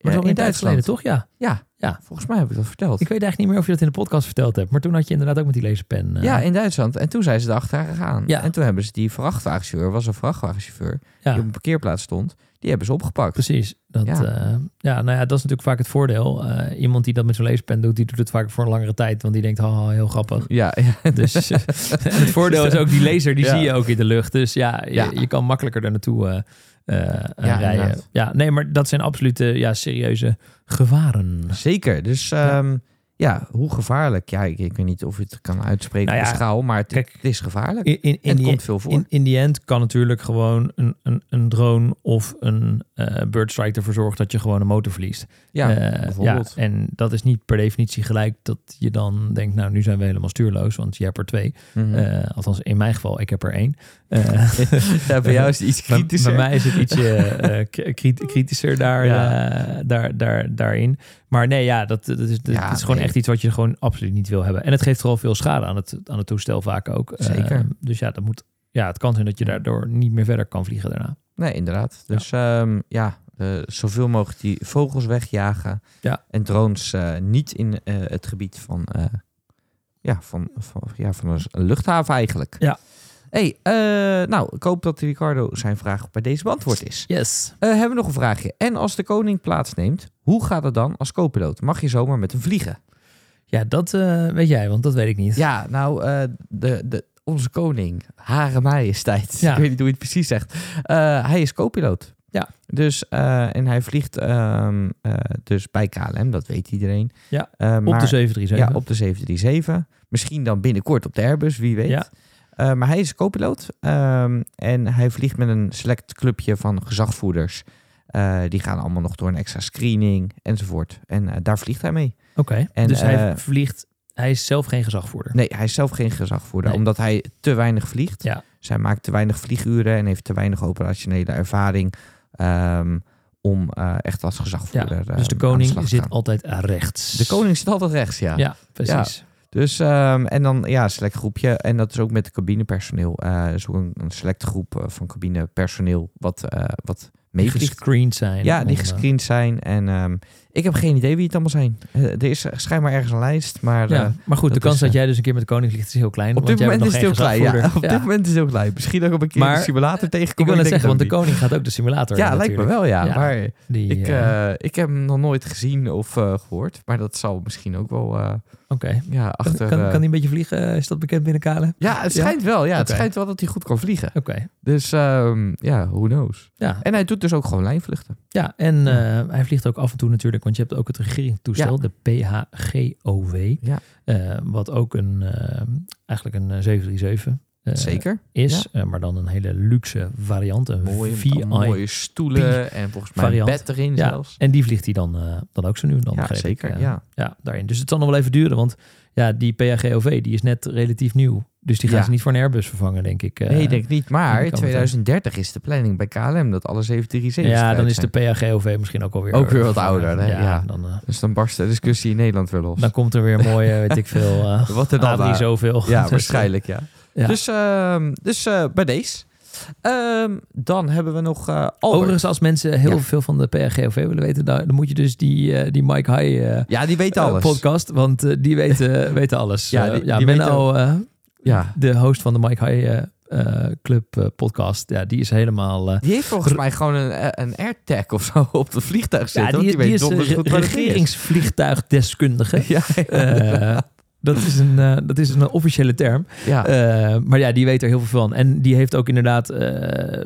E: maar
D: in
E: toch in tijd
D: Duitsland.
E: geleden, toch? Ja.
D: Ja,
E: Ja.
D: volgens mij heb ik dat verteld.
E: Ik weet eigenlijk niet meer of je dat in de podcast verteld hebt. Maar toen had je inderdaad ook met die laserpen. eh,
D: ja, in Duitsland. En toen zijn ze erachteraan gegaan.
E: Ja.
D: En toen hebben ze die vrachtwagenchauffeur, was een vrachtwagenchauffeur,
E: ja,
D: die op een parkeerplaats stond, die hebben ze opgepakt.
E: precies. Dat,
D: Ja.
E: ja. ja, nou ja, dat is natuurlijk vaak het voordeel. Eh, iemand die dat met zo'n laserpen doet, die doet het vaak voor een langere tijd. Want die denkt, oh, heel
D: [LAUGHS]
E: grappig.
D: Ja, ja.
E: Dus eh, [LAUGHS] en het voordeel is ook die laser, die
D: Ja.
E: zie je ook in de lucht. Dus ja, je,
D: Ja.
E: je kan makkelijker daar naartoe eh, eh, rijden.
D: inderdaad.
E: Ja, nee, maar dat zijn absolute ja, serieuze gevaren.
D: Zeker. Dus
E: Ja.
D: ehm, ja, hoe gevaarlijk? Ja, ik, ik weet niet of je het kan uitspreken
E: Nou
D: op
E: ja,
D: de schaal, maar het,
E: kijk,
D: het is gevaarlijk.
E: In, in,
D: en
E: in
D: het
E: die,
D: komt veel voor.
E: in, in die end kan natuurlijk gewoon een, een, een drone of een eh, eh Bird Strike ervoor zorgt dat je gewoon een motor verliest.
D: Ja,
E: Eh,
D: bijvoorbeeld.
E: ja, en dat is niet per definitie gelijk dat je dan denkt, nou nu zijn we helemaal stuurloos, want je hebt er twee.
D: Mhm.
E: Eh, althans, in mijn geval, ik heb er één. Eh,
D: [LAUGHS] ja, [LAUGHS] bij jou is het iets
E: bij-
D: kritischer.
E: Bij mij is het
D: [LAUGHS]
E: ietsje eh, k- kri- kritischer daar,
D: Ja.
E: eh, daar, daar, daarin. Maar nee, ja, dat, dat, is, dat
D: Ja,
E: is gewoon
D: nee.
E: echt iets wat je gewoon absoluut niet wil hebben. En het geeft vooral veel schade aan het, aan het toestel vaak ook.
D: Zeker.
E: Eh, dus ja, dat moet, ja, het kan zijn dat je daardoor niet meer verder kan vliegen daarna.
D: Nee, inderdaad. Dus ehm, ja, eh, zoveel mogelijk die vogels wegjagen.
E: Ja.
D: En drones eh, niet in eh, het gebied van, eh, ja, van, van, ja, van een luchthaven eigenlijk.
E: Ja.
D: hey, eh, nou, ik hoop dat Ricardo zijn vraag bij deze beantwoord is.
E: Yes.
D: Eh, hebben we nog een vraagje? En als de koning plaatsneemt, hoe gaat het dan als co Mag je zomaar met hem vliegen?
E: Ja, dat eh, weet jij, want dat weet ik niet.
D: Ja, nou, eh, de, de, onze koning, Hare Majesteit.
E: Ja.
D: Ik weet niet hoe je het precies zegt. Eh, hij is co-piloot.
E: Ja.
D: Dus, eh, en hij vliegt ehm, eh, dus bij KLM, dat weet iedereen.
E: Ja,
D: Eh,
E: op
D: maar-
E: de 737.
D: Ja, op de 737. Misschien dan binnenkort op de Airbus, wie weet.
E: Ja.
D: Eh, maar hij is co-piloot ehm, en hij vliegt met een select clubje van gezagvoerders. Eh, die gaan allemaal nog door een extra screening enzovoort. En eh, daar vliegt hij mee.
E: Oké,
D: En,
E: dus hij
D: eh,
E: vliegt, hij is zelf geen gezagvoerder.
D: Nee, hij is zelf geen gezagvoerder,
E: Nee.
D: omdat hij te weinig vliegt.
E: Ja.
D: Zij maakt te weinig vlieguren en heeft te weinig operationele ervaring ehm, om eh, echt als gezagvoerder.
E: ja,
D: eh,
E: dus de
D: aan
E: koning
D: slag te
E: zit
D: gaan.
E: altijd rechts.
D: De koning zit altijd rechts, ja.
E: Ja, precies.
D: Dus ehm, en dan ja, select groepje en dat is ook met cabinepersoneel. Eh is ook een, een select groep eh, van cabinepersoneel wat eh wat
E: die
D: meevliegt.
E: gescreend zijn.
D: Ja,
E: om,
D: die
E: eh,
D: gescreend zijn en ehm, ik heb geen idee wie het allemaal zijn. Eh, er is schijnbaar ergens een lijst, maar eh,
E: ja, maar goed, de
D: dat
E: kans
D: is,
E: dat
D: eh,
E: jij dus een keer met de koning vliegt is heel klein.
D: Op
E: want
D: dit
E: jij
D: moment
E: bent
D: is het heel
E: nog geen
D: klein. Ja,
E: gezagvoerder.
D: op dit moment is het heel klein. Misschien dat ik op een keer
E: Maar,
D: een simulator
E: Ik
D: tegenkom.
E: wil
D: en
E: net
D: denk
E: zeggen, want de
D: dat
E: koning gaat ook de simulator.
D: niet. Ja, lijkt me wel, ja.
E: Ja.
D: Maar
E: Die,
D: ik,
E: eh,
D: eh, ik heb hem nog nooit gezien of eh, gehoord. Maar dat zal misschien ook wel eh,
E: Oké.
D: ja,
E: Kan,
D: achter...
E: kan, kan
D: eh,
E: die een beetje vliegen? Is dat bekend binnen KLM?
D: ja, het schijnt wel. Ja, het
E: Oké.
D: schijnt wel dat hij goed kan vliegen.
E: Oké.
D: Dus ehm, ja, who knows.
E: Ja.
D: En hij doet dus ook gewoon lijnvluchten.
E: ja, en eh, hij vliegt ook af en toe natuurlijk, want je hebt ook het regeringstoestel, de PHGOW.
D: Ja.
E: Eh, wat ook een, eh, eigenlijk een eh, 737 eh,
D: Zeker.
E: is, eh, maar dan een hele luxe variant. Een
D: Mooie,
E: VI.
D: mooie stoelen en volgens mij een
E: variant.
D: bed erin
E: Ja,
D: zelfs.
E: En die vliegt hij dan, eh, dan ook zo nu en dan.
D: Ja,
E: begreep ik.
D: zeker.
E: Eh,
D: ja.
E: ja, daarin. Dus het zal nog wel even duren, want ja, die PHGOV die is net relatief nieuw. Dus die gaan
D: Ja.
E: ze niet voor een Airbus vervangen, denk ik. eh.
D: Nee, denk ik niet. Maar
E: die
D: in
E: kan meteen.
D: 2030 is de planning bij KLM dat alle 737's
E: Ja,
D: eruit
E: dan is
D: zijn.
E: de PHGOV misschien ook alweer...
D: Ook weer wat
E: vervangen.
D: ouder, hè?
E: Ja,
D: Ja.
E: Dan, eh,
D: Dus dan barst de discussie in Nederland weer los.
E: dan komt er weer
D: [LAUGHS]
E: een mooie, weet ik veel, eh
D: Wat er dan
E: Adrie
D: waren.
E: [LAUGHS] zoveel. Dus, eh,
D: ja, waarschijnlijk, ja.
E: Ja.
D: Dus, ehm, dus eh, bij deze. Ehm, dan hebben we nog eh Albert.
E: Overigens, als mensen heel
D: Ja.
E: veel van de PHGOV willen weten, dan, dan moet je dus die, eh, die Mike High eh,
D: Ja, die weet
E: eh,
D: alles.
E: podcast, want eh, die weten, [LAUGHS] weten alles.
D: Ja,
E: Eh,
D: die-
E: ja
D: die
E: Menno, eh,
D: ja.
E: de host van de Mike High eh, eh, Club eh, podcast, ja, die is helemaal... eh,
D: Die heeft volgens mij gewoon een, eh, een AirTag of zo op het vliegtuig zitten.
E: Ja, die,
D: want
E: die,
D: die,
E: is
D: weet
E: eh, een
D: donders goed waar het is.
E: regeringsvliegtuigdeskundige.
D: [LAUGHS] Ja,
E: Eh, dat, is een, eh, dat is een officiële term.
D: ja.
E: Eh, maar ja, die weet er heel veel van. En die heeft ook inderdaad eh,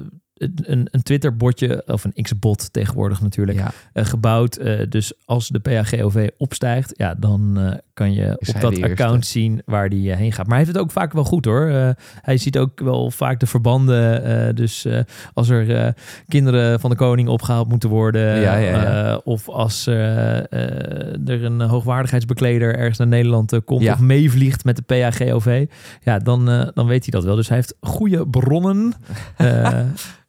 E: een, een Twitter-botje, of een X-bot tegenwoordig natuurlijk,
D: ja.
E: eh, gebouwd. Eh, dus als de PHGOV opstijgt, ja, dan eh, kan je
D: Is
E: op
D: hij
E: dat
D: de eerste.
E: account zien waar die eh, heen gaat. Maar hij heeft het ook vaak wel goed hoor. Eh, hij ziet ook wel vaak de verbanden. eh, dus eh, als er eh, kinderen van de koning opgehaald moeten worden.
D: Ja, ja, ja.
E: eh, of als eh, eh, er een hoogwaardigheidsbekleder ergens naar Nederland eh, komt.
D: Ja.
E: Of meevliegt met de PHGOV. Ja, dan, eh, dan weet hij dat wel. Dus hij heeft goede
D: [LAUGHS]
E: bronnen. Eh,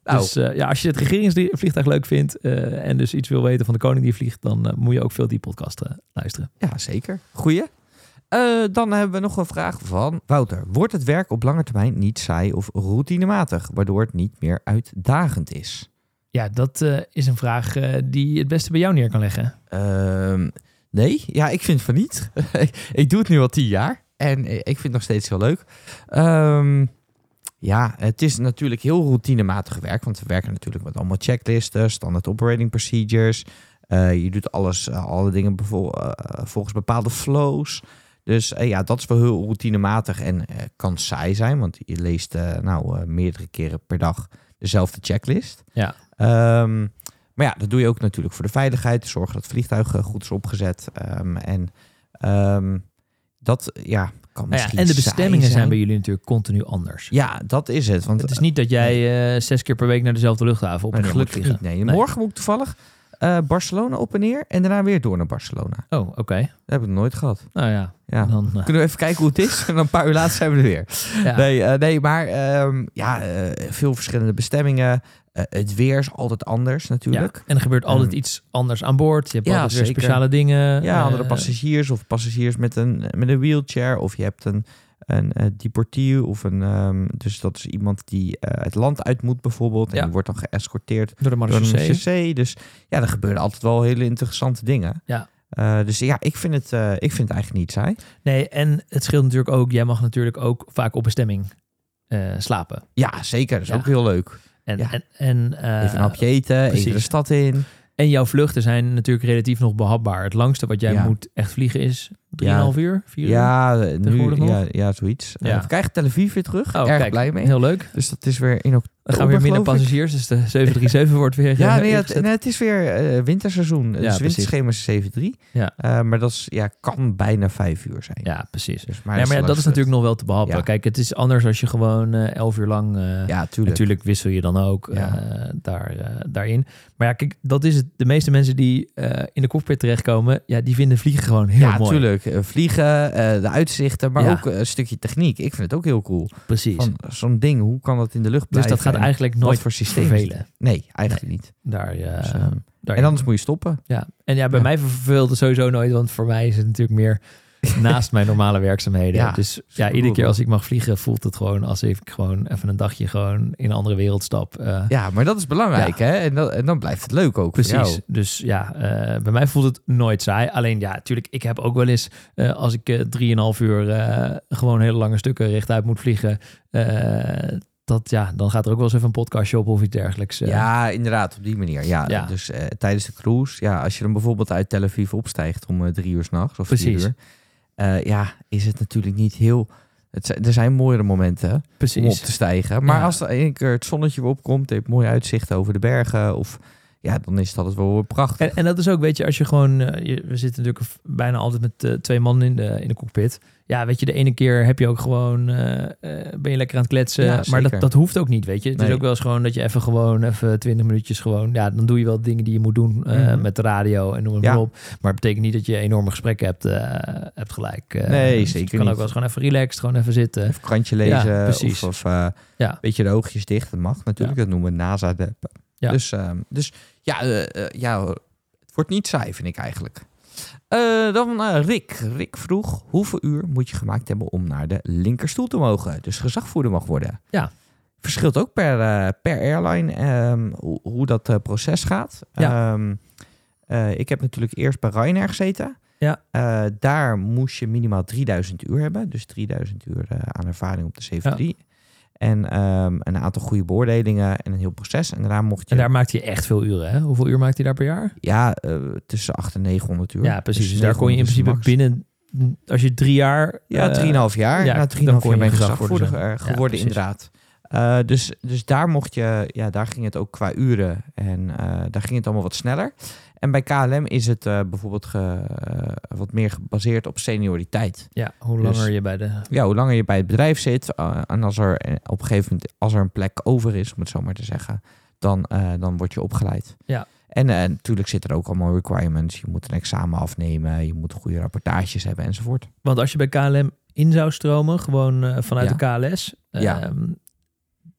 D: Nou.
E: Dus eh, ja, als je het regeringsvliegtuig leuk vindt eh, en dus iets wil weten van de koning die vliegt, dan eh, moet je ook veel die podcast eh, luisteren.
D: Ja, zeker. Goeie. Eh, dan hebben we nog een vraag van Wouter. Wordt het werk op lange termijn niet saai of routinematig, waardoor het niet meer uitdagend is?
E: Ja, dat eh, is een vraag eh, die het beste bij jou neer kan leggen.
D: Ehm, nee, ja, ik vind van niet. [LAUGHS] ik, ik doe het nu al tien jaar en ik vind het nog steeds heel leuk. Ehm, ja, het is natuurlijk heel routinematig werk, want we werken natuurlijk met allemaal checklisten, standaard operating procedures. Eh, je doet alles, eh, alle dingen bevo- eh, volgens bepaalde flows. Dus eh, ja, dat is wel heel routinematig en eh, kan saai zijn, want je leest eh, nou eh, meerdere keren per dag dezelfde checklist.
E: Ja.
D: Ehm, maar ja, dat doe je ook natuurlijk voor de veiligheid. Zorgen dat het vliegtuig eh, goed is opgezet. Ehm, en ehm, Dat ja, kan
E: Nou ja,
D: misschien
E: en de
D: saai
E: bestemmingen zijn. bij jullie natuurlijk continu anders.
D: Ja, dat is het. Want eh,
E: Het is niet dat jij eh, zes keer per week naar dezelfde luchthaven op
D: Nee,
E: en neer moet
D: gelukkig
E: vliegen.
D: niet. Nee. Morgen moet ik toevallig eh, Barcelona op en neer en daarna weer door naar Barcelona.
E: Oh, oké.
D: Dat heb ik nog nooit gehad.
E: Nou ja.
D: Ja.
E: Dan, eh,
D: Kunnen we even kijken hoe het
E: [LAUGHS]
D: is? En dan een paar uur later zijn we er weer.
E: ja.
D: Nee, eh, nee, maar ehm, ja, eh, veel verschillende bestemmingen. Eh, het weer is altijd anders natuurlijk.
E: Ja, en er gebeurt altijd
D: Ehm,
E: iets anders aan boord. Je hebt
D: ja,
E: altijd weer
D: zeker.
E: speciale dingen.
D: Ja,
E: Eh,
D: andere passagiers of passagiers met een, met een wheelchair. Of je hebt een, een eh, deportier of een... ehm, dus dat is iemand die eh, het land uit moet bijvoorbeeld. En
E: Ja.
D: die wordt dan geëscorteerd
E: Door de
D: door een
E: marechaussee.
D: CC. Dus ja, er gebeuren altijd wel hele interessante dingen.
E: Ja.
D: Eh, dus ja, ik vind, het, eh, ik vind het eigenlijk niet saai.
E: Nee, en het scheelt natuurlijk ook. Jij mag natuurlijk ook vaak op bestemming eh, slapen.
D: Ja, zeker. Dat is
E: Ja.
D: ook heel leuk.
E: En,
D: Ja.
E: en, en, eh,
D: Even een hapje eten, even
E: precies.
D: de stad in.
E: en jouw vluchten zijn natuurlijk relatief nog behapbaar. Het langste wat jij
D: Ja.
E: moet echt vliegen is 3,5 uur, 4 uur.
D: Ja, eh, nu,
E: Tegenwoordig nog?
D: ja, ja, zoiets. Eh,
E: Ja.
D: we krijgen Tel Aviv weer terug.
E: Oh,
D: Erg
E: kijk,
D: blij mee.
E: Heel leuk.
D: Dus dat is weer in oktober,
E: We gaan weer minder
D: geloof ik.
E: passagiers, dus de
D: [LAUGHS]
E: 737 wordt weer
D: Ja,
E: eh,
D: nee, het,
E: ingezet.
D: nee, het is weer eh winterseizoen. Het
E: precies.
D: dus winterschema is 7-3.
E: Ja.
D: Eh, maar dat is, ja, kan bijna vijf uur zijn.
E: ja, precies.
D: Dus,
E: Maar, maar ja, dat is natuurlijk nog wel te behappen.
D: Ja.
E: Kijk, het is anders als je gewoon eh, 11 uur lang eh,
D: Ja, tuurlijk.
E: Natuurlijk wissel je dan ook
D: Ja.
E: eh, daar, eh, daarin. Maar ja, kijk, dat is het. De meeste mensen die eh, in de cockpit terechtkomen, ja, die vinden vliegen gewoon heel
D: ja,
E: mooi.
D: tuurlijk. Eh, Vliegen, eh, de uitzichten, maar
E: Ja.
D: ook eh, een stukje techniek. Ik vind het ook heel cool.
E: Precies.
D: Van zo'n ding, hoe kan dat in de lucht
E: dus
D: blijven?
E: dat gaat
D: en
E: eigenlijk
D: wat
E: nooit
D: voor systeem is
E: vervelen.
D: het? Nee, eigenlijk niet.
E: Daar, eh,
D: Dus, ehm,
E: daarin.
D: en anders moet je stoppen.
E: ja. en ja, bij
D: Ja.
E: mij verveelt het sowieso nooit, want voor mij is het natuurlijk
D: [LAUGHS]
E: meer naast mijn normale werkzaamheden.
D: Ja,
E: dus
D: is
E: ja, iedere
D: cool,
E: keer
D: man.
E: als ik mag vliegen, voelt het gewoon alsof ik gewoon even een dagje gewoon in een andere wereld stap. eh,
D: Ja, maar dat is belangrijk, hè? En, dat, en dan blijft het leuk ook voor
E: Precies.
D: jou.
E: Dus ja, eh, bij mij voelt het nooit saai. Alleen ja, natuurlijk, ik heb ook wel eens eh, als ik eh, drieënhalf uur eh, gewoon hele lange stukken rechtuit moet vliegen. eh, dat ja, dan gaat er ook wel eens even een podcastje op of iets dergelijks. eh.
D: Ja, inderdaad, op die manier. Ja,
E: Ja.
D: Dus eh, tijdens de cruise, ja, als je dan bijvoorbeeld uit Tel Aviv opstijgt om eh, drie uur s'nachts of vier
E: Precies.
D: uur, eh, ja, is het natuurlijk niet heel. Het zijn, er zijn mooiere momenten om op
E: precies.
D: te stijgen. Maar
E: Ja.
D: als er een keer het zonnetje weer opkomt, heeft mooi uitzicht over de bergen. Of ja, dan is dat het wel weer prachtig.
E: En, en dat is ook, weet je, als je gewoon... eh, je- we zitten natuurlijk v- bijna altijd met eh, twee man in de, in de cockpit. Ja, weet je, de ene keer heb je ook gewoon... eh, eh, ben je lekker aan het kletsen.
D: Ja,
E: maar
D: zeker.
E: dat, dat hoeft ook niet, weet je. Het is
D: Nee.
E: ook wel eens gewoon dat je even gewoon... even twintig minuutjes gewoon... Ja, dan doe je wel dingen die je moet doen eh,
D: Mhm.
E: met de radio en noem het
D: Ja.
E: maar op. Maar het betekent niet dat je enorme gesprekken hebt, eh, hebt gelijk. Eh,
D: Nee,
E: dus
D: zeker
E: Je kan
D: niet.
E: ook wel eens gewoon even relaxed, gewoon even zitten.
D: Of krantje lezen.
E: eh, Ja, precies.
D: Of, of eh,
E: Ja.
D: een beetje de oogjes dicht. Dat mag natuurlijk. Dat noemen we nasa deppen
E: Ja.
D: Dus, ehm, dus ja, eh, eh, ja, het wordt niet saai, vind ik eigenlijk. Eh, dan eh, Rick. Rick vroeg hoeveel uur moet je gemaakt hebben om naar de linkerstoel te mogen. Dus gezagvoerder mag worden.
E: Ja.
D: Verschilt ook per, eh, per airline ehm, hoe, hoe dat eh, proces gaat.
E: Ja.
D: Ehm, eh, ik heb natuurlijk eerst bij Ryanair gezeten.
E: Ja.
D: Eh, daar moest je minimaal 3000 uur hebben. Dus 3000 uur eh, aan ervaring op de 73. En ehm, een aantal goede beoordelingen en een heel proces. En daarna mocht je...
E: En daar maakt hij echt veel uren, hè? Hoeveel uur maakt hij daar per jaar?
D: Ja, eh, tussen 800 en 900 uur.
E: Ja, precies. Dus daar kon je in
D: 900 is de
E: principe
D: max.
E: binnen... Als je drie jaar...
D: Ja,
E: eh,
D: 3,5 jaar.
E: ja,
D: Na
E: dan
D: 3,5 jaar
E: kon je
D: ben ik
E: gezagvoerder
D: gezagvoerder
E: zijn.
D: eh,
E: Ja,
D: geworden,
E: precies.
D: inderdaad. Eh, dus, dus daar mocht je, ja, daar ging het ook qua uren en eh, daar ging het allemaal wat sneller. En bij KLM is het eh, bijvoorbeeld ge- eh, wat meer gebaseerd op senioriteit.
E: Ja, hoe
D: Dus-
E: langer je bij de...
D: ja, hoe langer je bij het bedrijf zit eh, en als er eh, op een gegeven moment als er een plek over is, om het zo maar te zeggen, dan, eh, dan word je opgeleid.
E: Ja.
D: En eh, natuurlijk zitten er ook allemaal requirements. Je moet een examen afnemen, je moet goede rapportages hebben enzovoort.
E: Want als je bij KLM in zou stromen, gewoon eh, vanuit de KLS.
D: Ja.
E: ehm,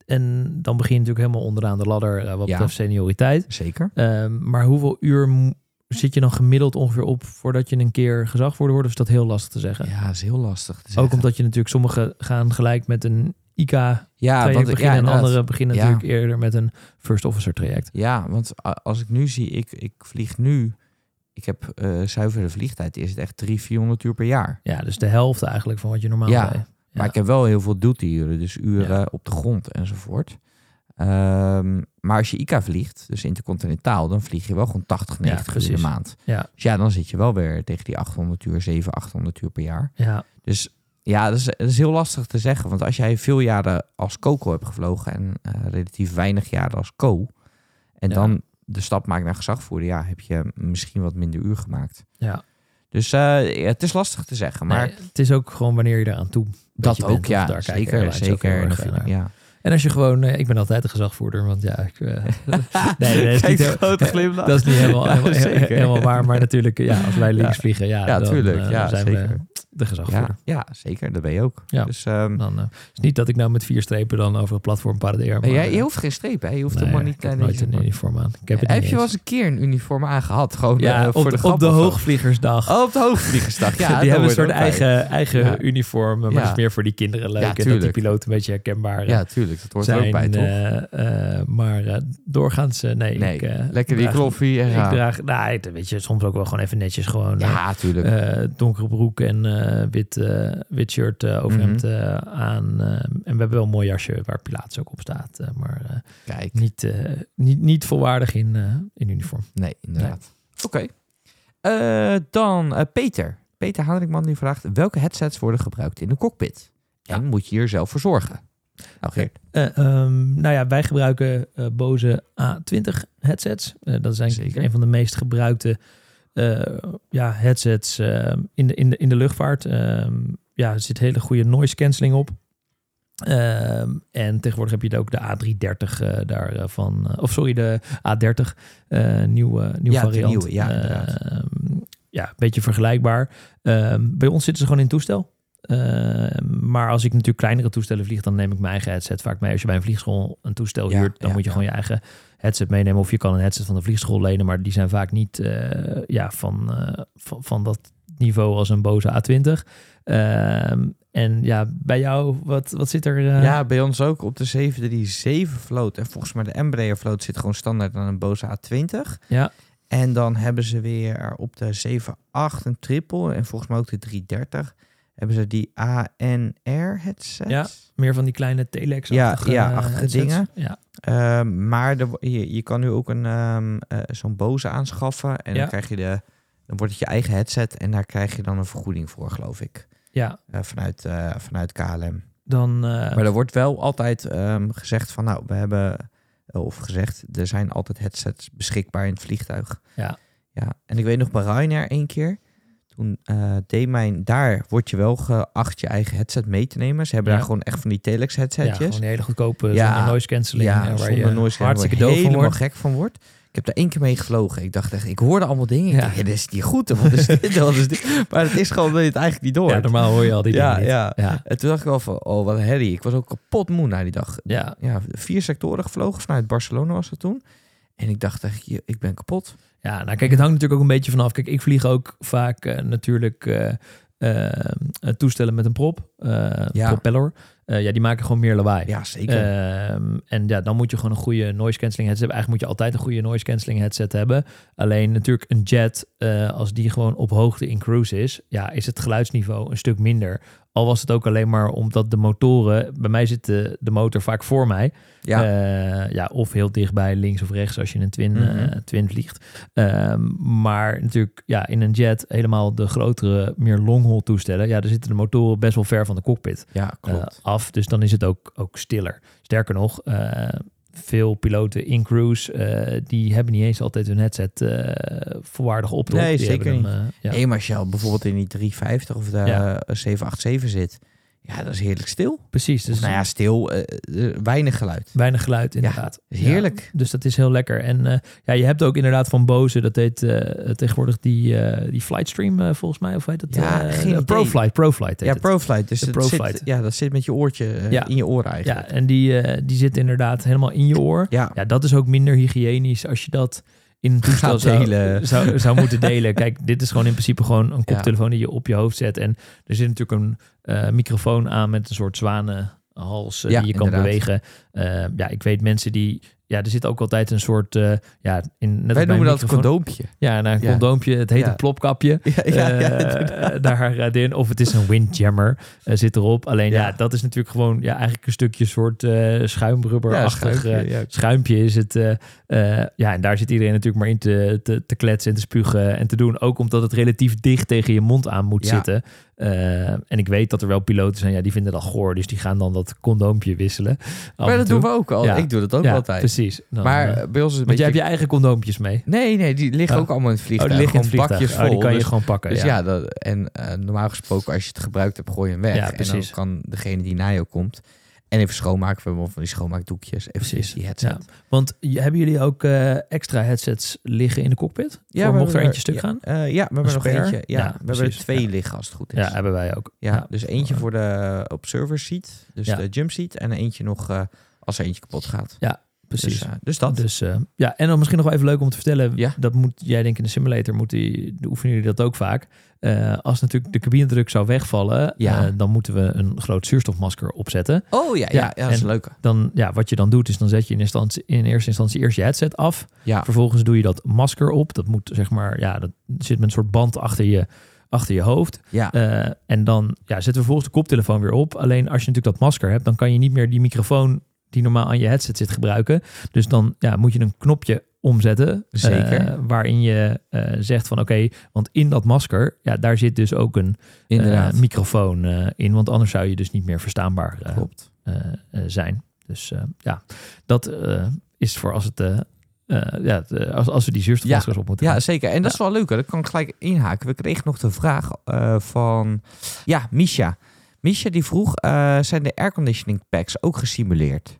E: en dan begin je natuurlijk helemaal onderaan de ladder eh, wat
D: Ja.
E: betreft senioriteit.
D: Zeker.
E: Ehm, maar hoeveel uur mo- zit je dan gemiddeld ongeveer op voordat je een keer gezagvoerder wordt? Of is dat heel lastig te zeggen?
D: Ja, dat is heel lastig. Te
E: Ook
D: zeggen.
E: omdat je natuurlijk sommigen gaan gelijk met een IK
D: ja,
E: traject
D: want,
E: beginnen
D: ja,
E: en
D: inderdaad.
E: anderen beginnen
D: Ja.
E: natuurlijk eerder met een first officer traject.
D: Ja, want a- als ik nu zie, ik, ik vlieg nu, ik heb eh, zuivere vliegtijd, is het echt 300, 400 uur per jaar.
E: Ja, dus de helft eigenlijk van wat je normaal
D: Ja.
E: deed.
D: Maar ik heb wel heel veel duty-uren, dus uren op de grond enzovoort. Ehm, maar als je ICA vliegt, dus intercontinentaal, dan vlieg je wel gewoon 80, 90 uur in de
E: precies.
D: maand.
E: Ja.
D: Dus ja, dan zit je wel weer tegen die 800 uur, 700, 800 uur per jaar.
E: Ja,
D: Dus ja, dat is, dat is heel lastig te zeggen. Want als jij veel jaren als coco hebt gevlogen en eh, relatief weinig jaren als co, en
E: Ja.
D: dan de stap maakt naar gezagvoerder, ja, heb je misschien wat minder uur gemaakt.
E: ja.
D: Dus eh, ja, het is lastig te zeggen. Maar
E: Nee, het is ook gewoon wanneer je eraan toe
D: dat
E: bent,
D: ook,
E: of
D: ja.
E: daar kijker
D: zeker,
E: lijkt zo heel
D: zeker.
E: erg eh,
D: En of-
E: naar. [LAUGHS]
D: Ja.
E: En als je gewoon, eh, ik ben altijd een gezagvoerder, want ja, ik,
D: [LAUGHS]
E: eh, [LAUGHS] nee, nee, dat is
D: Kijk,
E: niet heel- [LAUGHS]
D: grote
E: eh,
D: glimlach.
E: dat is niet helemaal,
D: [LAUGHS] Ja,
E: helemaal, he-
D: zeker.
E: helemaal waar, maar natuurlijk, ja, als wij links
D: [LAUGHS] Ja.
E: vliegen, ja,
D: Ja,
E: dan,
D: tuurlijk.
E: eh,
D: Ja,
E: zijn
D: zeker.
E: we de gezagvoerder.
D: Ja, ja, zeker. Dat ben je ook.
E: Ja.
D: Dus, ehm,
E: Dan eh, is niet dat ik nou met vier strepen dan over het platform paradeer.
D: maar
E: maar,
D: jij,
E: eh,
D: je hoeft geen streep, hè? Je hoeft
E: nee,
D: helemaal niet...
E: Ik heb
D: eh,
E: nooit
D: niet-
E: een uniform aan. Ik heb het
D: heb
E: niet
D: je wel
E: eens.
D: eens een keer een uniform aangehad? Gewoon
E: ja,
D: eh,
E: op,
D: voor de,
E: de,
D: grap
E: op de
D: of zo?
E: hoogvliegersdag. [LAUGHS]
D: Oh, op de hoogvliegersdag. Ja, dat
E: die hebben een
D: hoort
E: soort
D: ook bij.
E: eigen, eigen
D: Ja.
E: uniform, maar
D: Ja.
E: dat is meer voor die kinderen leuk.
D: Ja,
E: en dat die
D: tuurlijk.
E: piloot een beetje herkenbaar eh,
D: Ja, tuurlijk. Dat hoort er ook
E: zijn.
D: bij, toch?
E: eh, eh, maar eh, doorgaans, eh, nee.
D: nee,
E: ik, eh,
D: lekker die
E: draag-
D: kloffie en
E: Ik
D: gaan.
E: draag, nou, ik- weet je, soms ook wel gewoon even netjes gewoon eh,
D: Ja, tuurlijk.
E: eh, donkere broek en eh, wit, eh, wit shirt eh, overhemd
D: Mhm.
E: eh, aan. eh, en we hebben wel een mooi jasje waar Pilatus ook op staat, eh, maar eh,
D: Kijk,
E: niet, eh, niet, niet volwaardig in, eh, in uniform.
D: nee, inderdaad. Oké. Eh, dan eh, Peter. Peter Hanerikman die vraagt... welke headsets worden gebruikt in de cockpit? En moet je hier zelf voor zorgen? Nou, Geert.
E: Eh, ehm, nou ja, wij gebruiken eh, Bose A20 headsets. Eh, dat zijn
D: Zeker.
E: een van de meest gebruikte eh, ja, headsets ehm, in, de, in, de, in de luchtvaart. Ehm, ja, er zit hele goede noise cancelling op. Ehm, en tegenwoordig heb je ook de A330 eh, daarvan. eh, of sorry, de A30. eh nieuwe, nieuwe
D: Ja, de
E: variant.
D: nieuwe, ja, inderdaad.
E: Ehm, ja, een beetje vergelijkbaar. Ehm, bij ons zitten ze gewoon in het toestel. Ehm, maar als ik natuurlijk kleinere toestellen vlieg, dan neem ik mijn eigen headset vaak mee. Als je bij een vliegschool een toestel
D: Ja,
E: huurt, dan
D: ja,
E: moet je
D: ja.
E: gewoon je eigen headset meenemen. Of je kan een headset van de vliegschool lenen, maar die zijn vaak niet eh, ja, van, eh, van, van dat niveau als een Bose A20. Ehm, en ja, bij jou, wat, wat zit er? eh,
D: Ja, bij ons ook op de 737 vloot. En volgens mij de Embraer vloot zit gewoon standaard aan een Bose A20.
E: Ja.
D: En dan hebben ze weer op de 78 een triple en volgens mij ook de 330 hebben ze die ANR headsets.
E: Ja. meer van die kleine telex
D: Ja, ja, achtige dingen.
E: Ja,
D: Ehm, maar er wo- je, je kan nu ook een, ehm, eh, zo'n Bose aanschaffen en
E: Ja.
D: dan krijg je de dan wordt het je eigen headset en daar krijg je dan een vergoeding voor, geloof ik.
E: ja.
D: Eh, vanuit, eh, vanuit KLM.
E: Dan, eh,
D: Maar er wordt wel altijd ehm, gezegd van, nou, we hebben, eh, of gezegd, er zijn altijd headsets beschikbaar in het vliegtuig.
E: Ja.
D: ja. En ik weet nog bij Ryanair één keer, toen eh, deed mijn, daar word je wel geacht je eigen headset mee te nemen. Ze hebben
E: Ja.
D: daar gewoon echt van die telex
E: ja,
D: headsetjes.
E: gewoon die hele goedkope
D: Ja,
E: zonder noise cancelling. eh,
D: Ja,
E: waar
D: zonder
E: je
D: noise
E: hartstikke
D: waar je
E: doof van
D: helemaal
E: wordt.
D: gek van wordt. Ik heb daar één keer mee gevlogen. Ik dacht echt, ik hoorde allemaal dingen.
E: Ja.
D: Ja. dit is niet goed. Wat is
E: [LAUGHS]
D: dit? Wat is dit? Maar het is gewoon dat je het eigenlijk niet door.
E: Ja, normaal hoor je al die dingen
D: ja,
E: niet.
D: ja.
E: Ja,
D: En toen dacht ik wel van, oh wat een herrie. Ik was ook kapot moe na die dag.
E: ja.
D: ja, vier sectoren gevlogen. Vanuit Barcelona was dat toen. En ik dacht echt, je- ik ben kapot.
E: Ja, nou kijk, het hangt natuurlijk ook een beetje vanaf. Kijk, ik vlieg ook vaak eh, natuurlijk eh, eh, toestellen met een prop, eh,
D: Ja.
E: propeller. Eh, ja, die maken gewoon meer lawaai.
D: Ja, zeker.
E: Ehm, en ja, dan moet je gewoon een goede noise cancelling headset hebben. Eigenlijk moet je altijd een goede noise cancelling headset hebben. Alleen natuurlijk een jet, eh, als die gewoon op hoogte in cruise is, ja, is het geluidsniveau een stuk minder. Al was het ook alleen maar omdat de motoren, bij mij zit de, de motor vaak voor mij.
D: ja,
E: Eh, ja, of heel dichtbij, links of rechts, als je in een twin, eh,
D: Mhm.
E: twin vliegt. Ehm, maar natuurlijk, ja, in een jet, helemaal de grotere, meer long-haul toestellen, ja, daar zitten de motoren best wel ver van de cockpit
D: ja,
E: eh,
D: klopt.
E: af. Dus dan is het ook, ook stiller. Sterker nog, eh, veel piloten in cruise, eh, die hebben niet eens altijd hun headset eh, volwaardig op. toch?
D: Nee,
E: Die
D: zeker
E: hebben hem, eh, ja.
D: Nee, maar als je al bijvoorbeeld in die 350 of de
E: Ja.
D: eh, 787 zit. Ja, dat is heerlijk stil.
E: Precies, dus
D: nou ja, stil. eh, eh, weinig geluid.
E: weinig geluid inderdaad.
D: Dat is heerlijk.
E: Ja, dus dat is heel lekker. En eh, ja, je hebt ook inderdaad van Bose, dat heet eh, tegenwoordig die, eh die Flightstream eh, volgens mij, of heet dat?
D: Ja,
E: eh,
D: geen idee.
E: Proflight, Proflight heet
D: Ja,
E: het.
D: ProFlight. Dus
E: De
D: dat
E: ProFlight.
D: Zit, ja, dat zit met je oortje eh,
E: Ja.
D: in je oren
E: ja,
D: eigenlijk.
E: en die, eh, die zit inderdaad helemaal in je oor.
D: Ja,
E: Ja, dat is ook minder hygiënisch als je dat in een toestel
D: Gaat
E: zou, [LAUGHS]
D: delen.
E: zou, zou moeten delen. Kijk, dit is gewoon in principe gewoon een koptelefoon die je op je hoofd zet. En er zit natuurlijk een eh, microfoon aan met een soort zwanenhals eh,
D: Ja,
E: die je kan
D: inderdaad.
E: bewegen. Eh, ja, ik weet mensen die... Ja, er zit ook altijd een soort... eh, ja, in, net als bij
D: wij
E: een
D: noemen dat
E: microfoon-
D: condoompje. [LAUGHS]
E: Ja, nou, een
D: Ja.
E: condoompje. Het heet
D: Ja.
E: een plopkapje.
D: [LAUGHS] Ja,
E: eh, [LAUGHS] daar eh, in. Of het is een windjammer. eh, zit erop. Alleen ja.
D: Ja.
E: dat is natuurlijk gewoon ja, eigenlijk een stukje soort eh schuimrubberachtig
D: schuimpje,
E: eh,
D: ja.
E: schuimpje is het. eh, eh, ja, en daar zit iedereen natuurlijk maar in te, te, te kletsen en te spugen en te doen. Ook omdat het relatief dicht tegen je mond aan moet
D: Ja.
E: zitten. Eh, en ik weet dat er wel piloten zijn, ja, die vinden dat goor. Dus die gaan dan dat condoompje wisselen. af
D: Maar
E: en
D: dat
E: toe.
D: doen we ook al.
E: Ja.
D: Ik doe dat ook
E: ja,
D: altijd.
E: Precies. Dan,
D: Maar
E: eh,
D: eh, bij ons is het
E: want jij hebt
D: beetje-
E: je eigen condoompjes mee.
D: Nee, nee, die liggen
E: Oh.
D: ook allemaal in het
E: Oh,
D: vliegtuig.
E: die liggen in het
D: Gewoon
E: vliegtuig.
D: bakjes
E: Oh,
D: vol.
E: die kan je
D: dus,
E: gewoon pakken.
D: dus
E: ja.
D: ja, dat, en eh, normaal gesproken als je het gebruikt hebt, gooi je hem weg.
E: Ja,
D: en dan
E: precies.
D: kan degene die na jou komt... En even schoonmaken we hebben van die schoonmaakdoekjes. Even
E: Precies,
D: die headset.
E: ja. Want j- hebben jullie ook eh, extra headsets liggen in de cockpit?
D: Ja,
E: Voor
D: we
E: mocht er
D: hebben
E: eentje stuk
D: ja,
E: gaan?
D: eh, ja, we hebben nog
E: spare?
D: eentje. Ja,
E: Ja,
D: we hebben er
E: precies,
D: twee
E: ja.
D: liggen als het goed is.
E: Ja, hebben wij ook.
D: Ja, dus eentje voor de observer seat, dus
E: Ja.
D: de jump seat, en eentje nog eh, als er eentje kapot gaat.
E: Precies.
D: Dus, eh, dus dat.
E: Dus eh, ja, en dan misschien nog wel even leuk om te vertellen.
D: Ja.
E: Dat moet jij denk ik in de simulator moet die, de- oefenen jullie dat ook vaak. Eh, als natuurlijk de cabinedruk zou wegvallen,
D: Ja.
E: eh, dan moeten we een groot zuurstofmasker opzetten.
D: oh ja, ja, ja,
E: Ja,
D: dat is
E: en-
D: een leuke.
E: Dan, ja, wat je dan doet, is dan zet je in, instantie, in eerste instantie eerst je headset af.
D: Ja,
E: Vervolgens doe je dat masker op. Dat moet zeg maar, ja, dat zit met een soort band achter je, achter je hoofd.
D: ja.
E: Eh, en dan ja, zetten we vervolgens de koptelefoon weer op. Alleen als je natuurlijk dat masker hebt, dan kan je niet meer die microfoon die normaal aan je headset zit gebruiken. Dus dan ja, moet je een knopje omzetten. eh,
D: Zeker.
E: waarin je eh, zegt van oké, want in dat masker, ja, daar zit dus ook een eh,
D: inderdaad.
E: microfoon eh, in. Want anders zou je dus niet meer verstaanbaar eh,
D: Klopt.
E: eh, eh, zijn. Dus eh, ja, dat eh, is voor als het... eh, eh, ja, het, eh, als, als we die zuurstofmaskers op moeten
D: Ja,
E: gaan.
D: zeker. En dat is wel leuk. hè. Dat kan ik gelijk inhaken. We kregen nog de vraag eh, van, ja, Misha. Misha die vroeg, eh, zijn de airconditioning packs ook gesimuleerd?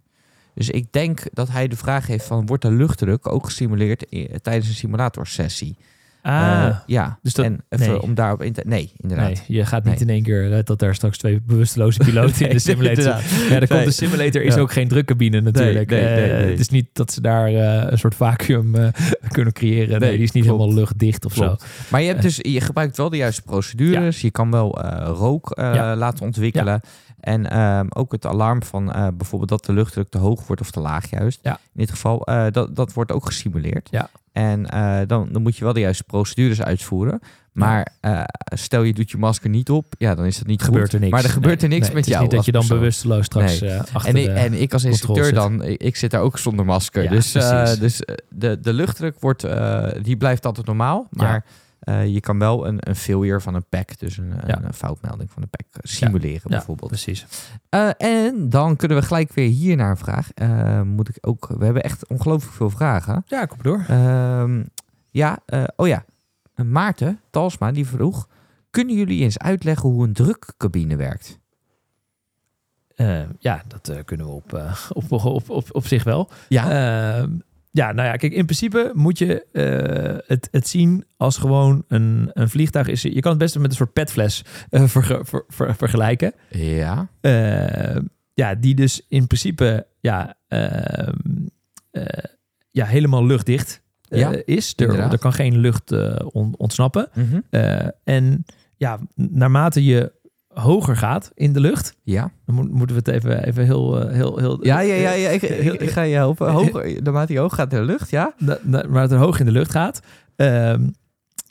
D: Dus ik denk dat hij de vraag heeft van, wordt de luchtdruk ook gesimuleerd i- tijdens een simulatorsessie?
E: Ah,
D: Eh, ja,
E: dus dat-
D: en even
E: nee.
D: om daarop in te... Nee, inderdaad.
E: Nee, je gaat niet
D: Nee.
E: in één keer eh, dat daar straks twee bewusteloze piloten
D: [LAUGHS]
E: in de simulator
D: inderdaad.
E: zitten. Ja, dan
D: Nee.
E: komt de simulator is
D: Ja.
E: ook geen drukcabine natuurlijk.
D: nee, nee,
E: Eh,
D: nee.
E: Het is niet dat ze daar eh, een soort vacuüm eh, [LAUGHS] kunnen creëren. Nee,
D: Nee,
E: die is niet
D: klopt.
E: helemaal luchtdicht of
D: Klopt.
E: zo.
D: Maar je, hebt dus, je gebruikt wel de juiste procedures. Je kan wel eh, rook eh,
E: Ja.
D: laten ontwikkelen. En ehm, ook het alarm van eh, bijvoorbeeld dat de luchtdruk te hoog wordt of te laag juist.
E: Ja.
D: In dit geval, eh, dat, dat wordt ook gesimuleerd.
E: Ja.
D: En eh, dan, dan moet je wel de juiste procedures uitvoeren. Maar eh, stel je doet je masker niet op, ja, dan is dat niet
E: Gebeurt
D: goed.
E: er niks.
D: Maar er gebeurt er niks
E: Nee,
D: met jou.
E: Het is niet dat
D: als
E: je dan
D: persoon.
E: bewusteloos straks eh, achter
D: En ik,
E: de-
D: en ik als
E: controle
D: instructeur dan, ik, ik zit daar ook zonder masker.
E: Ja,
D: dus eh,
E: precies.
D: dus eh, de, de luchtdruk wordt, eh, die blijft altijd normaal. Maar eh, je kan wel een, een failure van een pack, dus een,
E: Ja.
D: een, eh, foutmelding van een pack, eh, simuleren
E: Ja,
D: bijvoorbeeld.
E: precies.
D: Eh, en dan kunnen we gelijk weer hier naar een vraag. Eh, moet ik ook, we hebben echt ongelooflijk veel vragen.
E: Ja, kom door.
D: Ehm, ja, eh, oh ja. Maarten Talsma die vroeg: Kunnen jullie eens uitleggen hoe een drukcabine werkt?
E: Eh, ja, dat eh, kunnen we op, eh, [LAUGHS] op, op, op, op zich wel.
D: Ja,
E: Ehm, ja, nou ja, kijk, in principe moet je eh, het, het zien als gewoon een, een vliegtuig is. Je kan het best met een soort petfles eh, [LAUGHS] verge- ver- ver- vergelijken.
D: ja,
E: Ehm, ja, die dus in principe ja, ehm, eh, ja, helemaal luchtdicht eh,
D: Ja,
E: is. Er,
D: inderdaad.
E: er kan geen lucht eh, on- ontsnappen.
D: Mhm.
E: Eh, en ja, naarmate je hoger gaat in de lucht,
D: ja.
E: dan mo- moeten we het even, even heel, eh, heel, heel...
D: Ja, ja, ja, ja ik,
E: heel-
D: ik, ik ga je
E: eh,
D: helpen. Hoger, naarmate hij hoog gaat in de lucht, ja?
E: na- na- maar het er hoog in de lucht gaat, ehm,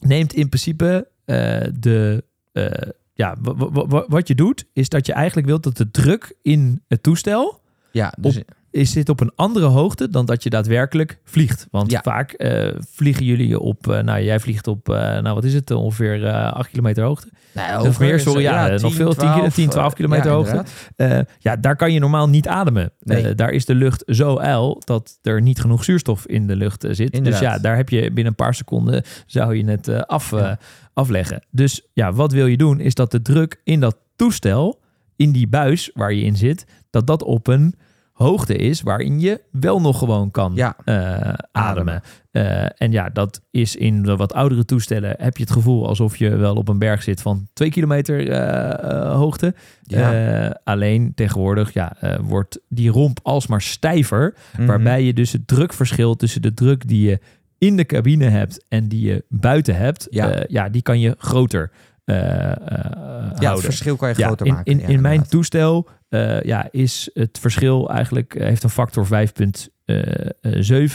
E: neemt in principe eh, de. eh, ja, wa- wa- wa- wat je doet, is dat je eigenlijk wilt dat de druk in het toestel
D: Ja, dus,
E: is zit op een andere hoogte dan dat je daadwerkelijk vliegt. Want
D: Ja.
E: vaak eh, vliegen jullie op, eh, nou jij vliegt op, eh, nou wat is het, ongeveer eh 8 kilometer hoogte.
D: nee,
E: of
D: hoger
E: meer,
D: is-
E: sorry, ja, eh, nog
D: 10,
E: veel, 10 kilo- 10, 12
D: eh,
E: kilometer
D: ja,
E: hoogte.
D: inderdaad.
E: Eh, ja, daar kan je normaal niet ademen.
D: Nee.
E: Eh, daar is de lucht zo uil dat er niet genoeg zuurstof in de lucht eh, zit.
D: Inderdaad.
E: Dus ja, daar heb je binnen een paar seconden zou je het eh, af,
D: Ja.
E: eh, afleggen. Dus ja, wat wil je doen is dat de druk in dat toestel, in die buis waar je in zit, dat dat op een hoogte is waarin je wel nog gewoon kan
D: Ja.
E: eh, ademen. Eh, en ja, dat is in de wat oudere toestellen heb je het gevoel alsof je wel op een berg zit van twee kilometer eh, eh, hoogte.
D: Ja.
E: Eh, alleen tegenwoordig ja, eh, wordt die romp alsmaar stijver.
D: Mhm.
E: Waarbij je dus het drukverschil tussen de druk die je in de cabine hebt en die je buiten hebt,
D: Ja.
E: eh, ja die kan je groter eh, eh,
D: ja, het
E: houden.
D: verschil kan je groter
E: in,
D: maken.
E: In,
D: ja,
E: in mijn
D: inderdaad.
E: toestel eh, ja, is het verschil eigenlijk eh, heeft een factor 5,7. eh,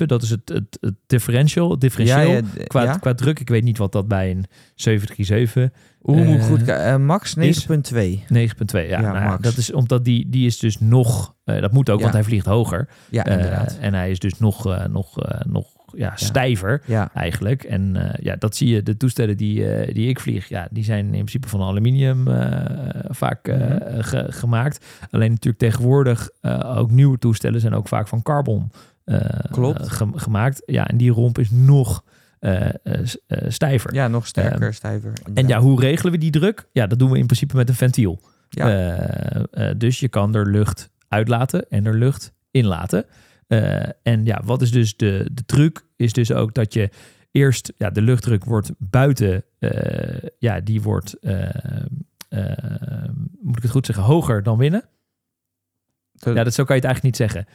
E: dat is het, het, het differential, het differentieel.
D: Ja, ja, d-
E: Qua,
D: ja?
E: qua druk, ik weet niet wat dat bij een 737
D: Hoe moet ik
E: eh,
D: goed kijken? Eh, Max 9.2.
E: 9,2. Ja,
D: Ja,
E: nou ja,
D: max.
E: dat is omdat die, die is dus nog. eh, dat moet ook,
D: Ja.
E: want hij vliegt hoger.
D: Ja,
E: Eh,
D: inderdaad.
E: en hij is dus nog, eh, nog, eh, nog ja, stijver
D: Ja.
E: eigenlijk. En eh, ja, dat zie je. De toestellen die, eh, die ik vlieg, ja, die zijn in principe van aluminium eh, vaak eh,
D: Mhm.
E: ge- gemaakt. Alleen natuurlijk tegenwoordig eh, ook nieuwe toestellen zijn ook vaak van carbon eh,
D: Klopt.
E: eh, ge- gemaakt. Ja, en die romp is nog eh, eh, s- eh, stijver.
D: ja, nog sterker,
E: Ehm,
D: stijver.
E: En ja, hoe regelen we die druk? Ja, dat doen we in principe met een ventiel.
D: Ja.
E: Eh, eh, dus je kan er lucht uitlaten en er lucht inlaten. Eh, en ja, wat is dus de, de truc? Is dus ook dat je eerst, ja, de luchtdruk wordt buiten, eh, ja, die wordt, eh, eh, moet ik het goed zeggen, hoger dan binnen.
D: De,
E: Ja, dat, zo kan je het eigenlijk niet zeggen.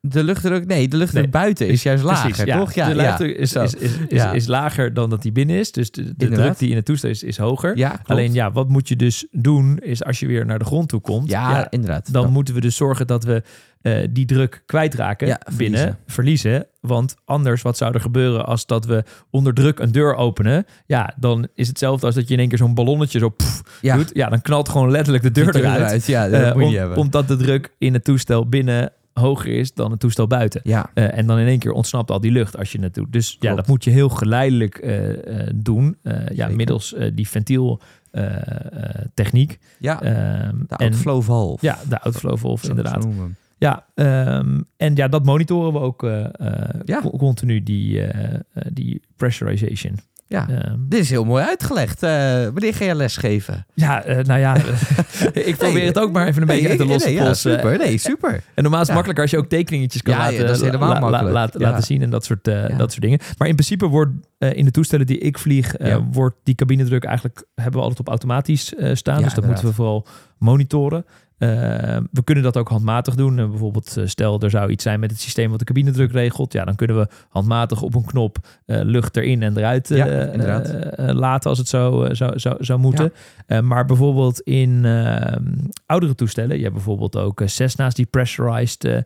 D: de luchtdruk, nee, de luchtdruk
E: Nee,
D: buiten is juist lager,
E: Precies, ja.
D: toch? Ja,
E: de
D: ja.
E: luchtdruk is,
D: Zo.
E: is, is, is,
D: Ja.
E: is lager dan dat die binnen is. Dus de, de
D: Inderdaad.
E: druk die in het toestel is, is hoger.
D: Ja, klopt.
E: Alleen ja, wat moet je dus doen is als je weer naar de grond toe komt.
D: ja,
E: ja,
D: inderdaad.
E: dan moeten we dus zorgen dat we eh, die druk kwijtraken
D: Ja,
E: binnen, verliezen. Want anders, wat zou er gebeuren als dat we onder druk een deur openen? Ja, dan is hetzelfde als dat je in één keer zo'n ballonnetje zo pff,
D: Ja.
E: doet. Ja, dan knalt gewoon letterlijk
D: [LAUGHS]
E: de deur
D: Die
E: eruit.
D: Ja, dat
E: Eh,
D: moet je
E: om-
D: niet hebben.
E: omdat de druk in het toestel binnen hoger is dan het toestel buiten.
D: ja,
E: Eh, en dan in één keer ontsnapt al die lucht als je het doet. Dus ja,
D: Klopt.
E: dat moet je heel geleidelijk eh, eh, doen. Eh, ja,
D: Zeker.
E: middels eh, die eh, ventieltechniek.
D: ja de
E: Eh, Ehm, en,
D: outflow valve.
E: ja, de outflow valve
D: Zo-
E: inderdaad.
D: zo noemen we hem.
E: Ja, ehm, en ja, dat monitoren we ook eh, eh,
D: Ja.
E: co- continu, die, eh, eh, die pressurization.
D: Ja.
E: Ehm,
D: Dit is heel mooi uitgelegd. Eh, wanneer ga je lesgeven?
E: ja, eh, nou ja, [LAUGHS] ik probeer het ook maar even een beetje uit de
D: Nee,
E: losse
D: nee, ja,
E: pols. eh,
D: super, nee, super.
E: En normaal is het
D: Ja.
E: makkelijker als je ook tekeningetjes kan
D: Ja, ja,
E: laten, eh,
D: dat is helemaal makkelijk.
E: laten-
D: Ja.
E: laten zien en dat soort, eh,
D: Ja.
E: dat soort dingen. Maar in principe wordt eh, in de toestellen die ik vlieg, eh,
D: Ja.
E: wordt die cabinedruk eigenlijk hebben we altijd op automatisch eh, staan.
D: Ja,
E: dus dat
D: inderdaad.
E: moeten we vooral monitoren. Eh, we kunnen dat ook handmatig doen. Eh, bijvoorbeeld, eh, stel er zou iets zijn met het systeem wat de cabinedruk regelt. Ja, dan kunnen we handmatig op een knop eh, lucht erin en eruit eh,
D: Ja, inderdaad.
E: eh, eh, laten als het zo eh, zou, zou, zou moeten. Eh, maar bijvoorbeeld in eh, oudere toestellen, je hebt bijvoorbeeld ook eh, Cessna's die pressurized eh,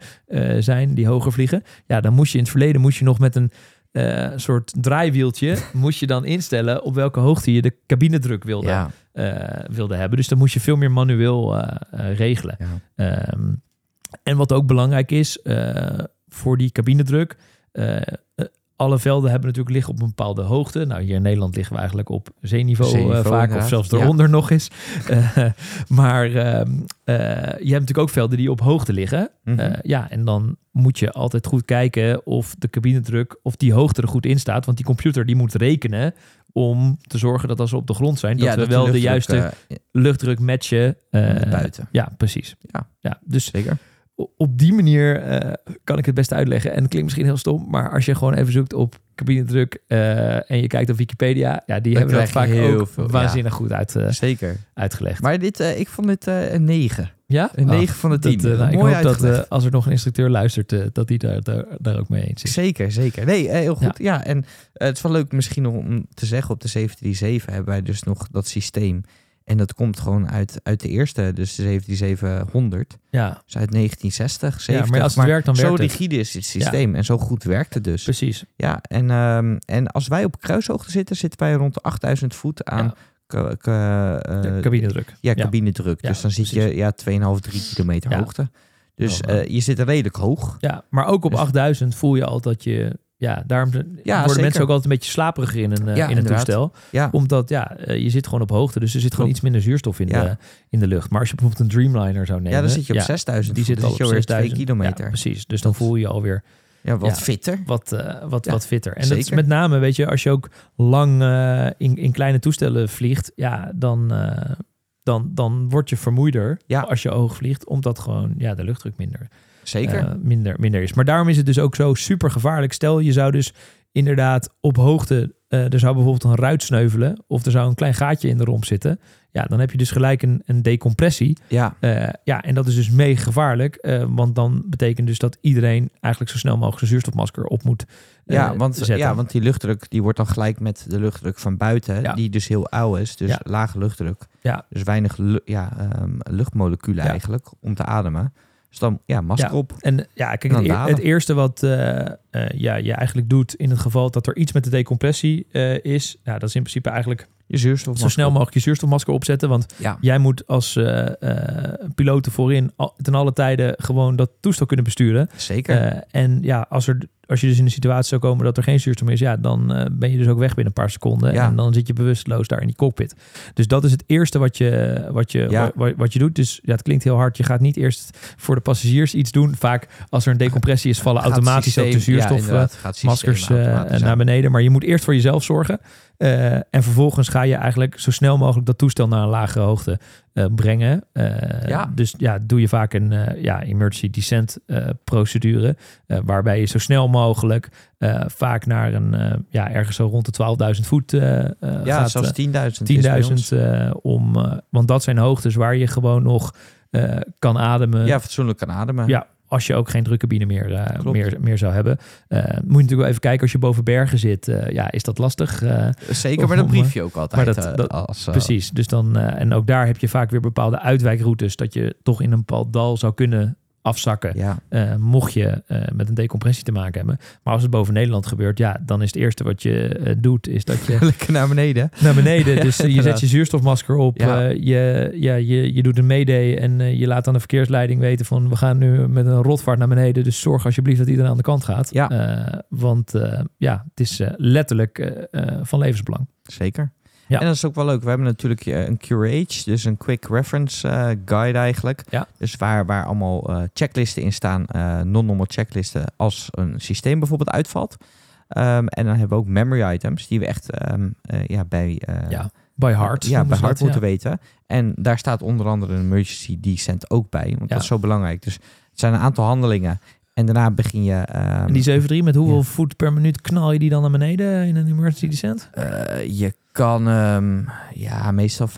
E: eh, zijn, die hoger vliegen. Ja, dan moest je in het verleden moest je nog met een eh, soort
D: [LAUGHS]
E: draaiwieltje, moest je dan instellen op welke hoogte je de cabinedruk wilde,
D: Ja,
E: eh, wilde hebben. Dus dan moest je veel meer manueel eh, eh, regelen.
D: ja.
E: Ehm, en wat ook belangrijk is eh, voor die cabinedruk. eh, eh, alle velden hebben natuurlijk liggen op een bepaalde hoogte. Nou, hier in Nederland liggen we eigenlijk op zeeniveau, eh,
D: Zeeniveau,
E: vaak. Of
D: inderdaad.
E: zelfs
D: Ja.
E: eronder nog eens. [LAUGHS] Eh, maar ehm, eh, je hebt natuurlijk ook velden die op hoogte liggen.
D: Mhm.
E: Eh, ja, en dan moet je altijd goed kijken of de cabinedruk, of die hoogte er goed in staat. Want die computer die moet rekenen om te zorgen dat als we op de grond zijn, dat
D: Ja,
E: we
D: de
E: wel de
D: luchtdruk,
E: juiste
D: eh,
E: luchtdruk matchen. eh,
D: buiten.
E: Ja, precies.
D: Ja.
E: ja dus
D: zeker.
E: o- op die manier eh, kan ik het best uitleggen. En het klinkt misschien heel stom, maar als je gewoon even zoekt op cabinedruk eh, en je kijkt op Wikipedia, ja, die
D: Dan
E: hebben dat vaak
D: krijg je heel
E: ook
D: veel, ja.
E: waanzinnig goed uit, eh,
D: Zeker.
E: uitgelegd.
D: Maar dit, eh, ik vond dit eh, een 9.
E: ja?
D: Een
E: Ah,
D: 9 van de
E: dat,
D: 10.
E: eh, nou, ik
D: Mooi
E: hoop dat eh,
D: uitgelegd.
E: als er nog een instructeur luistert, eh, dat die daar, daar, daar ook mee eens is.
D: Zeker, zeker. Nee, eh, heel goed. Ja, en eh, het is wel leuk misschien nog om te zeggen... op de 737 hebben wij dus nog dat systeem. En dat komt gewoon uit, uit de eerste, dus de 737-100.
E: Ja,
D: Dus uit 1960, 70.
E: ja maar als het werkt, dan
D: zo
E: werkt het.
D: rigide is het systeem en zo goed werkt het dus.
E: Precies.
D: Ja, en, ehm, en als wij op kruishoogte zitten, zitten wij rond de 8000 voet aan
E: Ja.
D: ka- ka- eh,
E: De cabinedruk.
D: ja, cabinedruk.
E: Ja,
D: dus dan zit je
E: precies.
D: ja, 2,5, 3 kilometer
E: Ja.
D: hoogte. Dus
E: Oh, wow.
D: eh, je zit redelijk hoog.
E: Ja, maar ook op
D: Dus-
E: 8000 voel je al dat je... Ja, daarom worden
D: zeker.
E: mensen ook altijd een beetje slaperiger in een, eh, in een
D: inderdaad.
E: toestel.
D: Ja,
E: Omdat ja, eh, je zit gewoon op hoogte, dus er zit gewoon
D: Klopt.
E: iets minder zuurstof in,
D: Ja.
E: de, in de lucht. Maar als je bijvoorbeeld een Dreamliner zou nemen...
D: ja dan zit je op
E: ja, dus
D: 6000
E: Die
D: voet.
E: zit
D: Dan
E: al
D: zit je
E: op
D: alweer 2
E: 6000. Ja,
D: kilometer. Ja,
E: precies, dus dan voel je je alweer
D: wat
E: Ja.
D: fitter.
E: wat, eh, wat,
D: Ja,
E: wat fitter. En dat is
D: zeker.
E: met name, weet je, als je ook lang eh, in, in kleine toestellen vliegt... ja, dan, eh, dan, dan word je vermoeider
D: Ja.
E: als je hoog vliegt... omdat gewoon ja, de luchtdruk minder
D: Zeker.
E: eh, minder, minder is. Maar daarom is het dus ook zo super gevaarlijk. Stel, je zou dus inderdaad op hoogte, eh, er zou bijvoorbeeld een ruit sneuvelen of er zou een klein gaatje in de romp zitten. Ja, dan heb je dus gelijk een, een decompressie.
D: ja,
E: Eh, ja, en dat is dus mega gevaarlijk, eh, want dan betekent dus dat iedereen eigenlijk zo snel mogelijk zijn zuurstofmasker op moet eh,
D: ja, want,
E: zetten.
D: ja, want die luchtdruk die wordt dan gelijk met de luchtdruk van buiten,
E: Ja.
D: die dus heel oud is. Dus
E: Ja.
D: lage luchtdruk.
E: Ja.
D: Dus weinig lu- ja, ehm, luchtmoleculen
E: Ja.
D: eigenlijk om te ademen. Dus dan, ja, masker
E: Ja.
D: op.
E: En ja, kijk,
D: Dan
E: het, eer-
D: dalen.
E: het eerste wat eh, eh, ja, je eigenlijk doet in het geval dat er iets met de decompressie eh, is, nou, dat is in principe eigenlijk
D: Je zuurstof.
E: zo snel mogelijk je zuurstofmasker opzetten. Want
D: Ja.
E: Jij moet als eh eh, piloten voorin al- ten alle tijden gewoon dat toestel kunnen besturen.
D: Zeker.
E: Eh, en ja, als er als je dus in de situatie zou komen dat er geen zuurstof meer is, ja, dan eh, ben je dus ook weg binnen een paar seconden.
D: Ja.
E: En dan zit je bewusteloos daar in die cockpit. Dus dat is het eerste wat je, wat je,
D: Ja.
E: wa- wa- wat, je doet. Dus ja, het klinkt heel hard. Je gaat niet eerst voor de passagiers iets doen. Vaak als er een decompressie is, vallen
D: Gaat
E: automatisch
D: systeem-
E: ook de
D: ja,
E: zuurstof. eh,
D: inderdaad, gaat systeem
E: maskers eh,
D: automatisch aan.
E: naar beneden. Maar je moet eerst voor jezelf zorgen. Eh, en vervolgens ga je eigenlijk zo snel mogelijk dat toestel naar een lagere hoogte eh, brengen. Eh,
D: Ja.
E: Dus ja, doe je vaak een eh, ja, emergency descent eh, procedure. eh, waarbij je zo snel mogelijk eh, vaak naar een eh, ja, ergens zo rond de 12.000 voet eh, eh,
D: Ja,
E: gaat.
D: zelfs 10.000.
E: 10.000
D: 10.000.
E: eh, om. eh, want dat zijn hoogtes waar je gewoon nog eh, kan ademen.
D: Ja, fatsoenlijk kan ademen.
E: Ja, als je ook geen drukkabine meer, eh,
D: Klopt.
E: meer, meer zou hebben. Eh, moet je natuurlijk wel even kijken als je boven bergen zit. eh, ja, is dat lastig? Eh,
D: Zeker, maar dat brief je ook altijd.
E: Maar dat-
D: eh,
E: dat-
D: als, eh,
E: Precies. Dus dan, eh, en ook daar heb je vaak weer bepaalde uitwijkroutes. Dat je toch in een bepaald dal zou kunnen afzakken.
D: Ja, [LAUGHS]
E: eh, mocht je eh, met een decompressie te maken hebben. Maar als het boven Nederland gebeurt, ja, dan is het eerste wat je eh, doet, is dat
D: [LAUGHS]
E: je
D: lekker naar beneden.
E: naar beneden. Dus
D: [LAUGHS]
E: eh, je zet
D: inderdaad.
E: je zuurstofmasker op.
D: Ja.
E: eh, je, ja, je, je doet een meedee en eh, je laat aan de verkeersleiding weten van we gaan nu met een rotvaart naar beneden. Dus zorg alsjeblieft dat iedereen aan de kant gaat.
D: Ja.
E: Eh, want eh, ja, het is eh, letterlijk eh, eh, van levensbelang.
D: Zeker.
E: Ja.
D: En dat is ook wel leuk. We hebben natuurlijk eh, een QRH, dus een Quick Reference eh, Guide eigenlijk.
E: Ja.
D: Dus waar, waar allemaal eh, checklisten in staan, eh, non-normal checklisten, als een systeem bijvoorbeeld uitvalt. Ehm, en dan hebben we ook memory items, die we echt ehm, eh, ja, bij, eh,
E: Ja, By heart.
D: ja, bij
E: noemen ze dat,
D: hard
E: ja.
D: moeten weten. En daar staat onder andere een emergency descent ook bij, want
E: Ja.
D: dat is zo belangrijk. Dus het zijn een aantal handelingen. En daarna begin je... ehm,
E: En die 73, met hoeveel
D: Ja.
E: voet per minuut knal je die dan naar beneden in een emergency descent?
D: eh, je kan ehm, ja, meestal 5.000,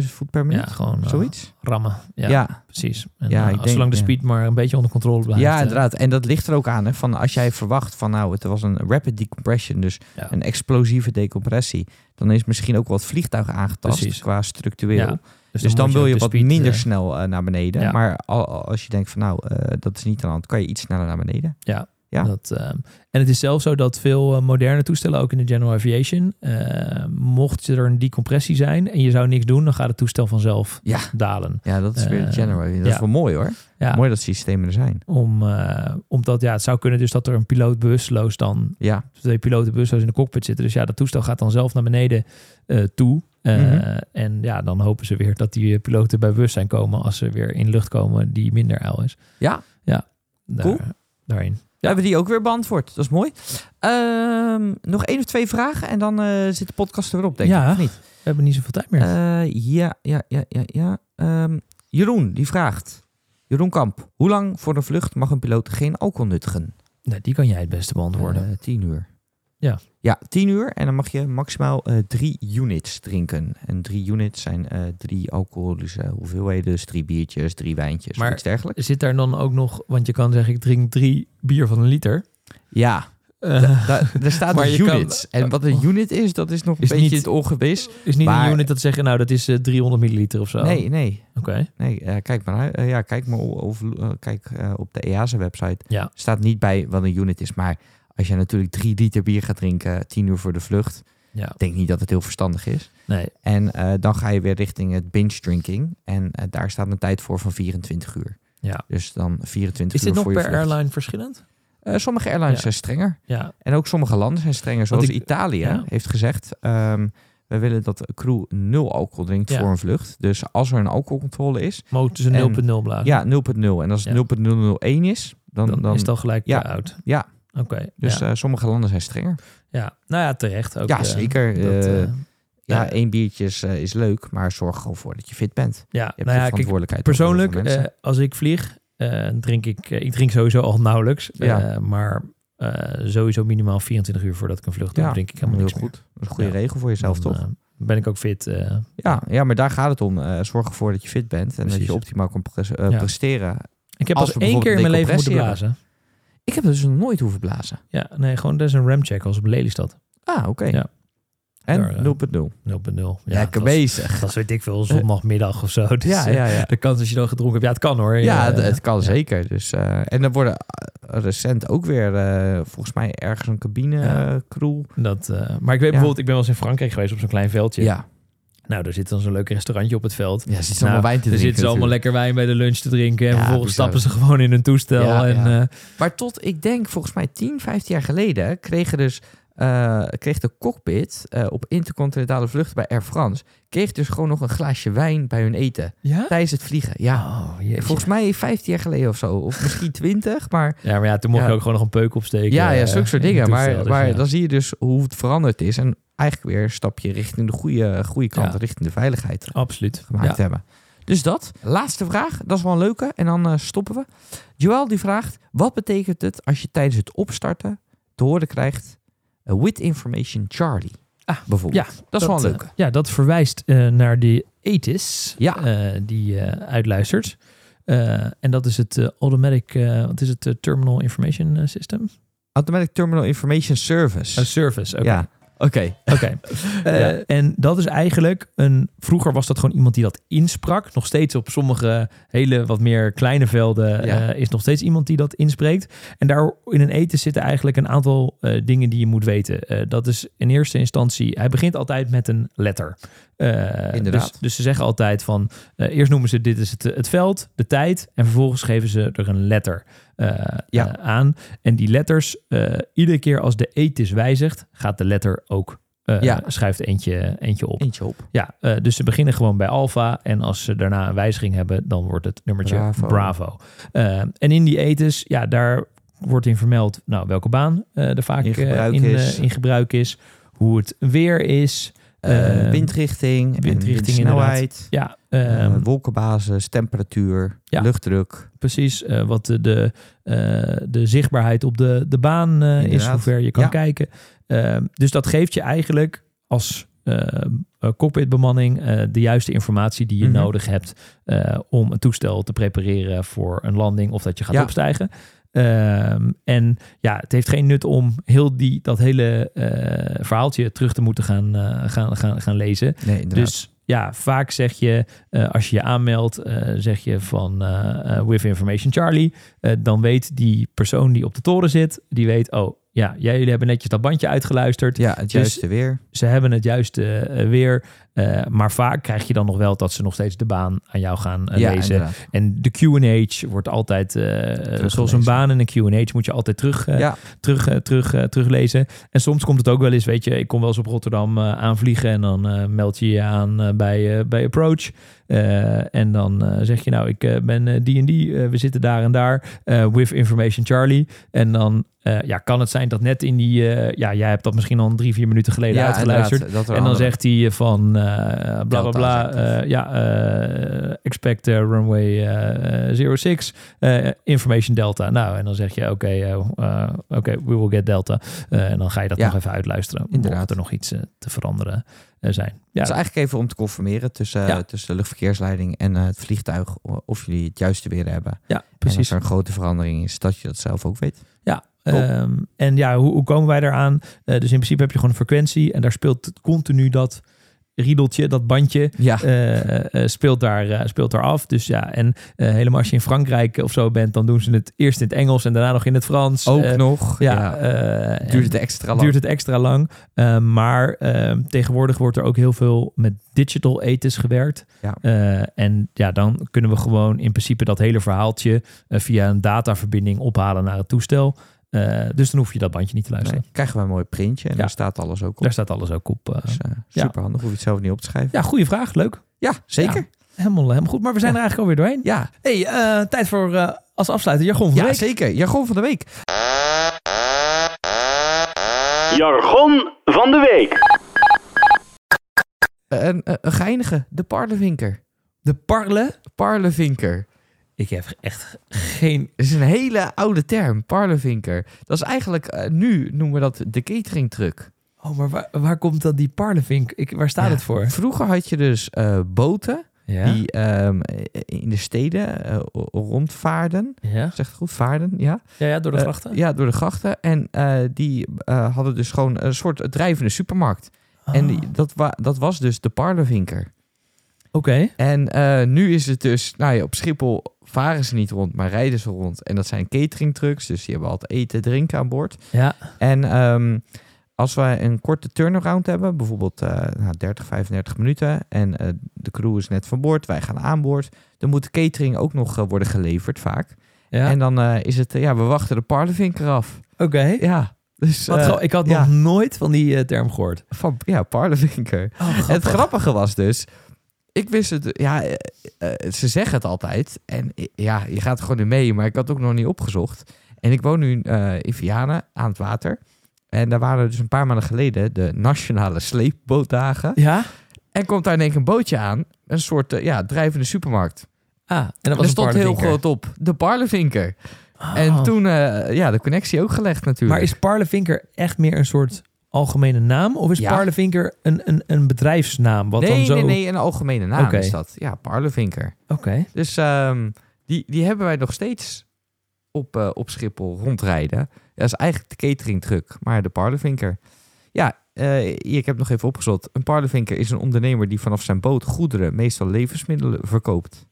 D: 6.000 voet per
E: Ja,
D: minuut.
E: gewoon eh,
D: Zoiets?
E: rammen. Ja, precies. En,
D: Ja,
E: ja,
D: ik denk,
E: zolang de
D: ja.
E: speed maar een beetje onder controle blijft.
D: Ja,
E: eh,
D: inderdaad. En dat ligt er ook aan. Hè, van als jij verwacht van nou, het was een rapid decompression, dus
E: Ja.
D: een explosieve decompressie, dan is misschien ook wel het vliegtuig aangetast
E: Precies.
D: qua structureel.
E: Ja,
D: Dus, dan,
E: moet
D: wil je
E: ook de
D: wat
E: speed,
D: minder
E: eh,
D: snel eh, naar beneden.
E: ja.
D: Maar al- al- als je denkt van nou, eh, dat is niet aan de hand, kan je iets sneller naar beneden. Ja.
E: Dat, ehm, en het is zelfs zo dat veel eh, moderne toestellen, ook in de general aviation, eh, mocht er een decompressie zijn en je zou niks doen, dan gaat het toestel vanzelf
D: Ja.
E: dalen.
D: Ja, dat is weer de
E: Eh,
D: general. Dat is
E: ja.
D: wel mooi hoor.
E: Ja.
D: Mooi dat systemen er zijn.
E: Om, eh, omdat ja, het zou kunnen dus dat er een piloot bewusteloos dan,
D: Ja,
E: twee piloten bewusteloos in de cockpit zitten. Dus ja, dat toestel gaat dan zelf naar beneden eh, toe. Eh,
D: Mhm.
E: En ja, dan hopen ze weer dat die eh, piloten bij bewustzijn komen als ze weer in lucht komen die minder uil is.
D: Ja.
E: Ja. Daar,
D: Cool.
E: Daarin.
D: we hebben die ook weer beantwoord. Dat is mooi. Ehm, nog één of twee vragen en dan eh, zit de podcast er weer op, denk ik.
E: Ja.
D: Of niet?
E: We hebben niet zoveel tijd meer.
D: Eh, ja, ja, ja, ja, ja. Ehm, Jeroen, die vraagt. Jeroen Kamp, hoe lang voor een vlucht mag een piloot geen alcohol nuttigen?
E: nee, die kan jij het beste beantwoorden.
D: Eh, tien uur.
E: Ja.
D: Ja, tien uur. En dan mag je maximaal eh, drie units drinken. En drie units zijn eh, drie alcoholische hoeveelheden. Dus drie biertjes, drie wijntjes, maar,
E: Maar-
D: iets dergelijks.
E: Zit daar dan ook nog, want je kan zeggen, ik drink drie bier van een liter.
D: Ja,
E: Eh,
D: da- daar
E: [LAUGHS]
D: staat
E: Maar
D: dus
E: je kan-
D: units. En wat een unit is, dat is nog een
E: Is
D: beetje
E: niet-
D: het ongewis.
E: is niet
D: Maar-
E: een unit dat zeggen, nou dat is eh, 300 milliliter of zo.
D: Nee, nee.
E: Oké.
D: Nee, eh, kijk maar, naar- eh, ja, kijk maar o- of, eh, kijk, eh, op de EASA-website.
E: Ja.
D: Staat niet bij wat een unit is. Maar als je natuurlijk drie liter bier gaat drinken, eh, tien uur voor de vlucht.
E: Ja.
D: Denk niet dat het heel verstandig is.
E: Nee.
D: En eh, dan ga je weer richting het binge drinking. En eh, daar staat een tijd voor van 24 uur.
E: Ja.
D: Dus dan 24
E: Is
D: uur
E: dit nog
D: voor
E: per
D: je vlucht.
E: airline verschillend?
D: Eh, sommige airlines
E: Ja.
D: zijn strenger.
E: Ja.
D: En ook sommige landen zijn strenger. Zoals
E: ik-
D: Italië
E: ja.
D: heeft gezegd... ehm, we willen dat de crew nul alcohol drinkt
E: Ja.
D: voor een vlucht. Dus als er een alcoholcontrole is,
E: Motor is een
D: En-
E: 0.0 blazen.
D: Ja, 0.0. En als
E: Ah. Ja.
D: het 0.001 is, dan...
E: Dan,
D: dan,
E: is het al gelijk
D: ja.
E: eh, oud.
D: Ja.
E: Oké.
D: dus
E: ja.
D: eh, sommige landen zijn strenger.
E: ja. Nou ja, terecht. Ook,
D: ja,
E: eh,
D: zeker.
E: dat,
D: Eh,
E: eh,
D: ja,
E: ja.
D: één biertje is, eh, is leuk, maar zorg gewoon voor dat je fit bent. Je
E: ja.
D: hebt
E: Nou
D: de
E: ja, kijk,
D: verantwoordelijkheid. over heel
E: persoonlijk,
D: veel mensen.
E: eh, als ik vlieg, eh, drink ik, eh, ik drink sowieso al nauwelijks.
D: Ja.
E: eh, maar eh, sowieso minimaal 24 uur voordat ik een vlucht doe,
D: Ja,
E: drink ik helemaal
D: heel
E: niks meer.
D: goed. Dat is een goede
E: Ja.
D: regel voor jezelf,
E: Dan,
D: toch?
E: eh, ben ik ook fit. eh,
D: ja, ja, maar daar gaat het om. Eh, zorg ervoor dat je fit bent en dat
E: Precies.
D: je optimaal kan pres- eh,
E: Ja.
D: presteren.
E: Ik heb
D: Als
E: pas
D: we
E: één keer in mijn
D: bijvoorbeeld
E: leven moeten
D: decompressie
E: blazen.
D: Ik heb dus nog nooit hoeven blazen.
E: Ja, nee, gewoon dat is een ramcheck als op Lelystad. 0.0.
D: Ah, oké.
E: Ja. Daar,
D: En
E: eh,
D: 0.0.
E: Ja, dat
D: Lekker
E: was- [LAUGHS]
D: bezig.
E: Dat weet ik veel, zondagmiddag of zo.
D: [LAUGHS]
E: Dus,
D: Ja,
E: eh,
D: ja, ja.
E: De kans dat je dan gedronken hebt, ja, het kan hoor.
D: Ja,
E: Eh,
D: het, het kan
E: ja.
D: zeker. Dus, eh, en er worden eh, recent ook weer, eh, volgens mij, ergens een cabine
E: Ja.
D: eh, crew.
E: Dat, eh, maar ik weet bijvoorbeeld, ik ben wel eens in Frankrijk geweest op zo'n klein veldje.
D: Ja.
E: Nou, daar zit dan zo'n leuk restaurantje op het veld.
F: Ja, ze zitten
E: Nou,
F: allemaal wijn te
E: Er
F: drinken.
E: zitten ze allemaal
F: natuurlijk.
E: lekker wijn bij de lunch te drinken. En
F: Ja,
E: vervolgens
F: bizar.
E: stappen ze gewoon in hun toestel.
F: Ja,
E: en,
F: ja.
E: eh,
D: Maar tot, ik denk, volgens mij 10, 15 jaar geleden... kregen dus, eh, kreeg de cockpit eh, op intercontinentale vluchten bij Air France... kreeg dus gewoon nog een glaasje wijn bij hun eten.
E: ja?
D: Tijdens het vliegen, ja.
E: Oh, jeetje.
D: Volgens mij 15 jaar geleden of zo. Of misschien 20, maar...
E: Ja, maar ja, toen mocht
D: Ja.
E: je ook gewoon nog een peuk opsteken.
D: Ja, ja,
E: eh,
D: zulke soort
E: in je
D: dingen.
E: toestel.
D: Maar,
E: Dus
D: maar
E: ja.
D: dan zie je dus hoe het veranderd is. En eigenlijk weer een stapje richting de goede, goede kant,
E: Ja.
D: richting de veiligheid
E: Absoluut.
D: gemaakt
E: Ja.
D: hebben. Dus dat. Laatste vraag. Dat is wel een leuke. En dan eh, stoppen we. Joël die vraagt, wat betekent het als je tijdens het opstarten te horen krijgt eh, with information Charlie? Ah, bijvoorbeeld.
E: ja,
D: dat, is wel een
E: eh,
D: leuke.
E: ja, dat verwijst eh, naar die ETIS
D: Ja.
E: eh, die eh, uitluistert. Eh, en dat is het eh, automatic, eh, wat is het, eh, terminal information eh, system?
D: Automatic Terminal Information Service.
E: Een service, oké.
D: Ja. Oké. [LAUGHS]
E: Oké. Ja. En dat is eigenlijk een. Vroeger was dat gewoon iemand die dat insprak. Nog steeds op sommige hele wat meer kleine velden
D: Ja.
E: eh, is nog steeds iemand die dat inspreekt. En daar in een eten zitten eigenlijk een aantal eh, dingen die je moet weten. Eh, dat is in eerste instantie. Hij begint altijd met een letter. Eh,
D: Inderdaad.
E: Dus, dus ze zeggen altijd van. eh, eerst noemen ze dit is het, het veld, de tijd. En vervolgens geven ze er een letter eh,
D: Ja.
E: eh, aan. En die letters, eh, iedere keer als de ethisch wijzigt, gaat de letter ook. eh,
D: Ja.
E: Schuift eentje, eentje op.
D: Eentje op.
E: Ja, eh, dus ze beginnen gewoon bij alfa. En als ze daarna een wijziging hebben, dan wordt het nummertje
D: Bravo.
E: bravo. Eh, en in die etens, ja, daar wordt in vermeld nou, welke baan eh, er vaak
D: In
E: eh,
D: gebruik
E: in, eh,
D: is.
E: in gebruik is. Hoe het weer is.
D: Eh,
E: Eh,
D: windrichting, en
E: windrichting
D: snelheid, Eh,
E: Ja, ehm,
D: wolkenbasis, temperatuur,
E: ja.
D: luchtdruk.
E: precies. eh, wat de, de, eh, de zichtbaarheid op de, de baan eh, is,
D: Inderdaad.
E: hoe ver je kan
D: Ja.
E: kijken. Ehm, dus dat geeft je eigenlijk als eh, eh, cockpitbemanning eh, de juiste informatie die je
D: Mhm.
E: nodig hebt eh, om een toestel te prepareren voor een landing of dat je gaat
D: Ja.
E: opstijgen. Ehm, en ja, het heeft geen nut om heel die, dat hele eh, verhaaltje terug te moeten gaan, eh, gaan, gaan, gaan lezen.
D: Nee, inderdaad.
E: Dus ja, vaak zeg je, eh, als je je aanmeldt, eh, zeg je van eh, eh, with information Charlie. Eh, dan weet die persoon die op de toren zit, die weet, oh ja, jij, jullie hebben netjes dat bandje uitgeluisterd.
D: ja, het juiste weer.
E: Ze hebben het juiste eh, weer. Eh, maar vaak krijg je dan nog wel dat ze nog steeds de baan aan jou gaan eh,
D: ja,
E: lezen.
D: inderdaad.
E: En de Q&H wordt altijd, eh, zoals een baan en een Q&H moet je altijd terug, eh,
D: Ja.
E: terug, eh, terug, eh, teruglezen. En soms komt het ook wel eens, weet je, ik kom wel eens op Rotterdam eh, aanvliegen en dan eh, meld je je aan eh, bij, eh, bij Approach. Eh, en dan eh, zeg je nou, ik eh, ben eh, die en die, eh, we zitten daar en daar, eh, with information Charlie. En dan eh, ja, kan het zijn dat net in die, eh, ja, jij hebt dat misschien al drie, vier minuten geleden
D: ja,
E: uitgeluisterd.
D: inderdaad, dat er
E: En dan
D: andere-
E: zegt hij van eh, bla bla bla. eh, ja, eh, expect eh, runway eh eh, 06, eh, information delta. Nou, en dan zeg je oké, eh, eh, oké, we will get delta. Eh, en dan ga je dat
D: Ja.
E: nog even uitluisteren.
D: Inderdaad.
E: Mocht er nog iets eh, te veranderen eh, zijn. Ja,
D: Het is Dus eigenlijk even om te conformeren tussen,
E: Ja.
D: tussen de luchtverkeersleiding en eh, het vliegtuig. o- Of jullie het juiste weer hebben.
E: ja,
D: En als
E: precies.
D: er een grote verandering is, dat je dat zelf ook weet.
E: Ja,
D: Top.
E: ehm, en ja, hoe, hoe komen wij daaraan? Eh, dus in principe heb je gewoon een frequentie en daar speelt continu dat riedeltje, dat bandje
D: Ja,
E: eh, eh, speelt, daar, eh, speelt daar af. Dus ja, en eh, helemaal als je in Frankrijk of zo bent, dan doen ze het eerst in het Engels en daarna nog in het Frans.
D: ook
E: Eh,
D: nog.
E: Ja,
D: Ja,
E: eh,
D: duurt
E: en
D: het extra lang.
E: duurt het extra lang. Eh, maar eh, tegenwoordig wordt er ook heel veel met digital ethics gewerkt.
D: Ja.
E: Eh, en ja, dan kunnen we gewoon in principe dat hele verhaaltje eh, via een dataverbinding ophalen naar het toestel. Eh, dus dan hoef je dat bandje niet te
D: Nee,
E: luisteren.
D: krijgen we een mooi printje en
E: Ja.
D: daar staat alles ook op.
E: Daar staat alles ook op. eh.
D: Dus, eh,
E: Ja.
D: super handig, hoef je het zelf niet op te schrijven.
E: Ja, goede vraag. Leuk.
D: Ja, zeker.
E: Helemaal, helemaal goed. Maar we zijn er eigenlijk alweer doorheen.
D: Ja,
E: Hey, eh, tijd voor eh, als afsluiter jargon van de
D: ja,
E: week.
D: zeker. Jargon van de week.
B: Jargon van de week.
D: Eh, Een, een, een geinige, de parlevinker.
E: De parle.
D: Parlevinker.
E: Ik heb echt geen...
D: Dat is een hele oude term, parlevinker. Dat is eigenlijk, eh, nu noemen we dat de cateringtruck.
E: Oh, maar waar, waar komt dan die parlevink? Ik, waar staat
D: Ja,
E: het voor?
D: Vroeger had je dus eh, boten
E: Ja.
D: die ehm, in de steden eh, o- rondvaarden.
E: ja.
D: Zegt het goed, vaarden, ja.
E: Ja, ja, door de
D: Eh,
E: grachten.
D: ja, door de grachten. En eh, die eh, hadden dus gewoon een soort drijvende supermarkt.
E: Ah.
D: En die- dat, wa- dat was dus de Parlevinker.
E: Oké.
D: En eh, nu is het dus, nou ja, op Schiphol varen ze niet rond, maar rijden ze rond. En dat zijn cateringtrucks, dus die hebben altijd eten, drinken aan boord.
E: Ja.
D: En ehm, Als wij een korte turnaround hebben, bijvoorbeeld eh, nou, 30, 35 minuten, en eh, de crew is net van boord, wij gaan aan boord, dan moet de catering ook nog eh, worden geleverd vaak.
E: Ja.
D: En dan eh, is het, eh, ja, we wachten de parlevinker af.
E: Oké.
D: Ja, dus
E: Wat
D: eh,
E: gra- ik had
D: ja.
E: nog nooit van die eh, term gehoord.
D: van, ja, parlevinker. Het grappige was dus, ik wist het, ja, eh, eh, ze zeggen het altijd. En eh, ja, je gaat er gewoon in mee, maar ik had het ook nog niet opgezocht. En ik woon nu eh, in Vianen aan het water. En daar waren dus een paar maanden geleden de nationale sleepbootdagen.
E: Ja?
D: En komt daar in één keer een bootje aan, een soort eh, ja, drijvende supermarkt.
E: Ah, en dat
D: En
E: was
D: er
E: een
D: stond heel
E: parlevinker.
D: groot op, de parlevinker. En
E: Ah.
D: toen, eh, ja, de connectie ook gelegd natuurlijk.
E: Maar is parlevinker echt meer een soort algemene naam? Of is
D: Ja.
E: parlevinker een, een, een bedrijfsnaam? Wat
D: nee,
E: dan zo...
D: nee, nee, een algemene naam
E: Oké.
D: is dat. Ja, parlevinker.
E: Oké.
D: Dus ehm, die, die hebben wij nog steeds op, eh, op Schiphol rondrijden. Dat is eigenlijk de cateringtruck, maar de parlevinker. Ja, eh, ik heb nog even opgezocht. Een parlevinker is een ondernemer die vanaf zijn boot goederen, meestal levensmiddelen, verkoopt.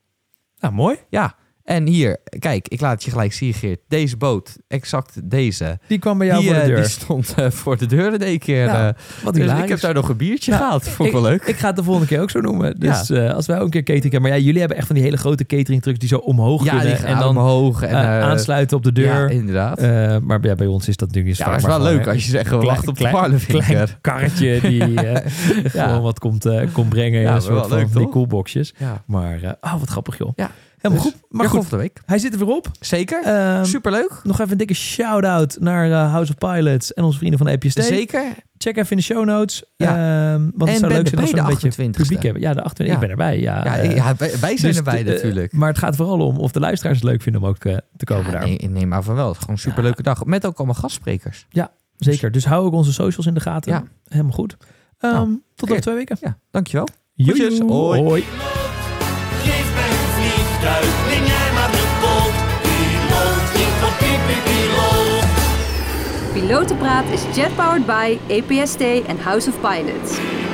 E: Nou, mooi.
D: Ja, en hier, kijk, ik laat het je gelijk zien, Geert. Deze boot, exact deze.
E: Die kwam bij jou
D: die,
E: voor de
D: eh,
E: deur.
D: die stond eh, voor de deur in één keer.
E: Ja,
D: eh.
E: Wat
D: dus ik
E: hilarisch.
D: heb daar nog een biertje
E: Ja,
D: gehaald. Vond ik wel leuk.
E: Ik ga het de volgende keer ook zo noemen. Dus eh, als wij ook een keer catering hebben. Maar ja, jullie hebben echt van die hele grote catering trucks die zo omhoog
D: ja, die
E: kunnen.
D: gaan
E: en dan
D: omhoog. En,
E: eh,
D: eh,
E: aansluiten op de
D: Ja,
E: deur.
D: inderdaad.
E: Eh, maar ja, bij ons is dat natuurlijk
D: Ja, maar het is wel leuk als je zegt, we wachten op de parlevinker.
E: Klein karretje die
D: [LAUGHS]
E: eh, gewoon wat komt, eh, komt brengen. Ja,
D: maar
E: een soort
D: wel
E: van
D: leuk,
E: die
D: toch?
E: coolboxjes.
D: Ja,
E: Maar, eh oh, wat grappig joh.
D: Ja,
E: Helemaal
D: dus-
E: goed. Maar
D: Ja,
E: goed,
D: van de week.
E: hij zit er weer op.
D: Zeker.
E: Ehm,
D: Superleuk.
E: Nog even een dikke shout-out naar eh, House of Pilots en onze vrienden van de E EPST.
D: Zeker.
E: Check even in de show notes.
D: Ja.
E: Ehm, want
D: En
E: het zou
D: ben
E: leuk zijn
D: erbij
E: als we
D: de
E: een beetje
D: 28e.
E: publiek hebben. Ja, de 28 Ik
D: Ja.
E: ben erbij. Ja,
D: Ja,
E: eh,
D: ja, wij, wij zijn
E: dus
D: erbij
E: de- eh,
D: natuurlijk.
E: Maar het gaat vooral om of de luisteraars het leuk vinden om ook eh, te komen
D: Ja,
E: daar.
D: nee, nee, maar van wel. Het is gewoon een superleuke dag. Met ook allemaal gastsprekers.
E: Zeker. Dus hou ook onze socials in de gaten.
D: Ja.
E: Helemaal goed. Ehm,
D: Nou,
E: tot
D: oké.
E: over twee weken.
D: Ja, dankjewel.
E: Joejoe.
D: Groetjes. Hoi.
E: Hoi.
C: Geef mijn vliegtuig, neem jij maar de boot. Piloot, ik word piep, piep, piloot.
A: Pilotenpraat is jet-powered by APST en House of Pilots.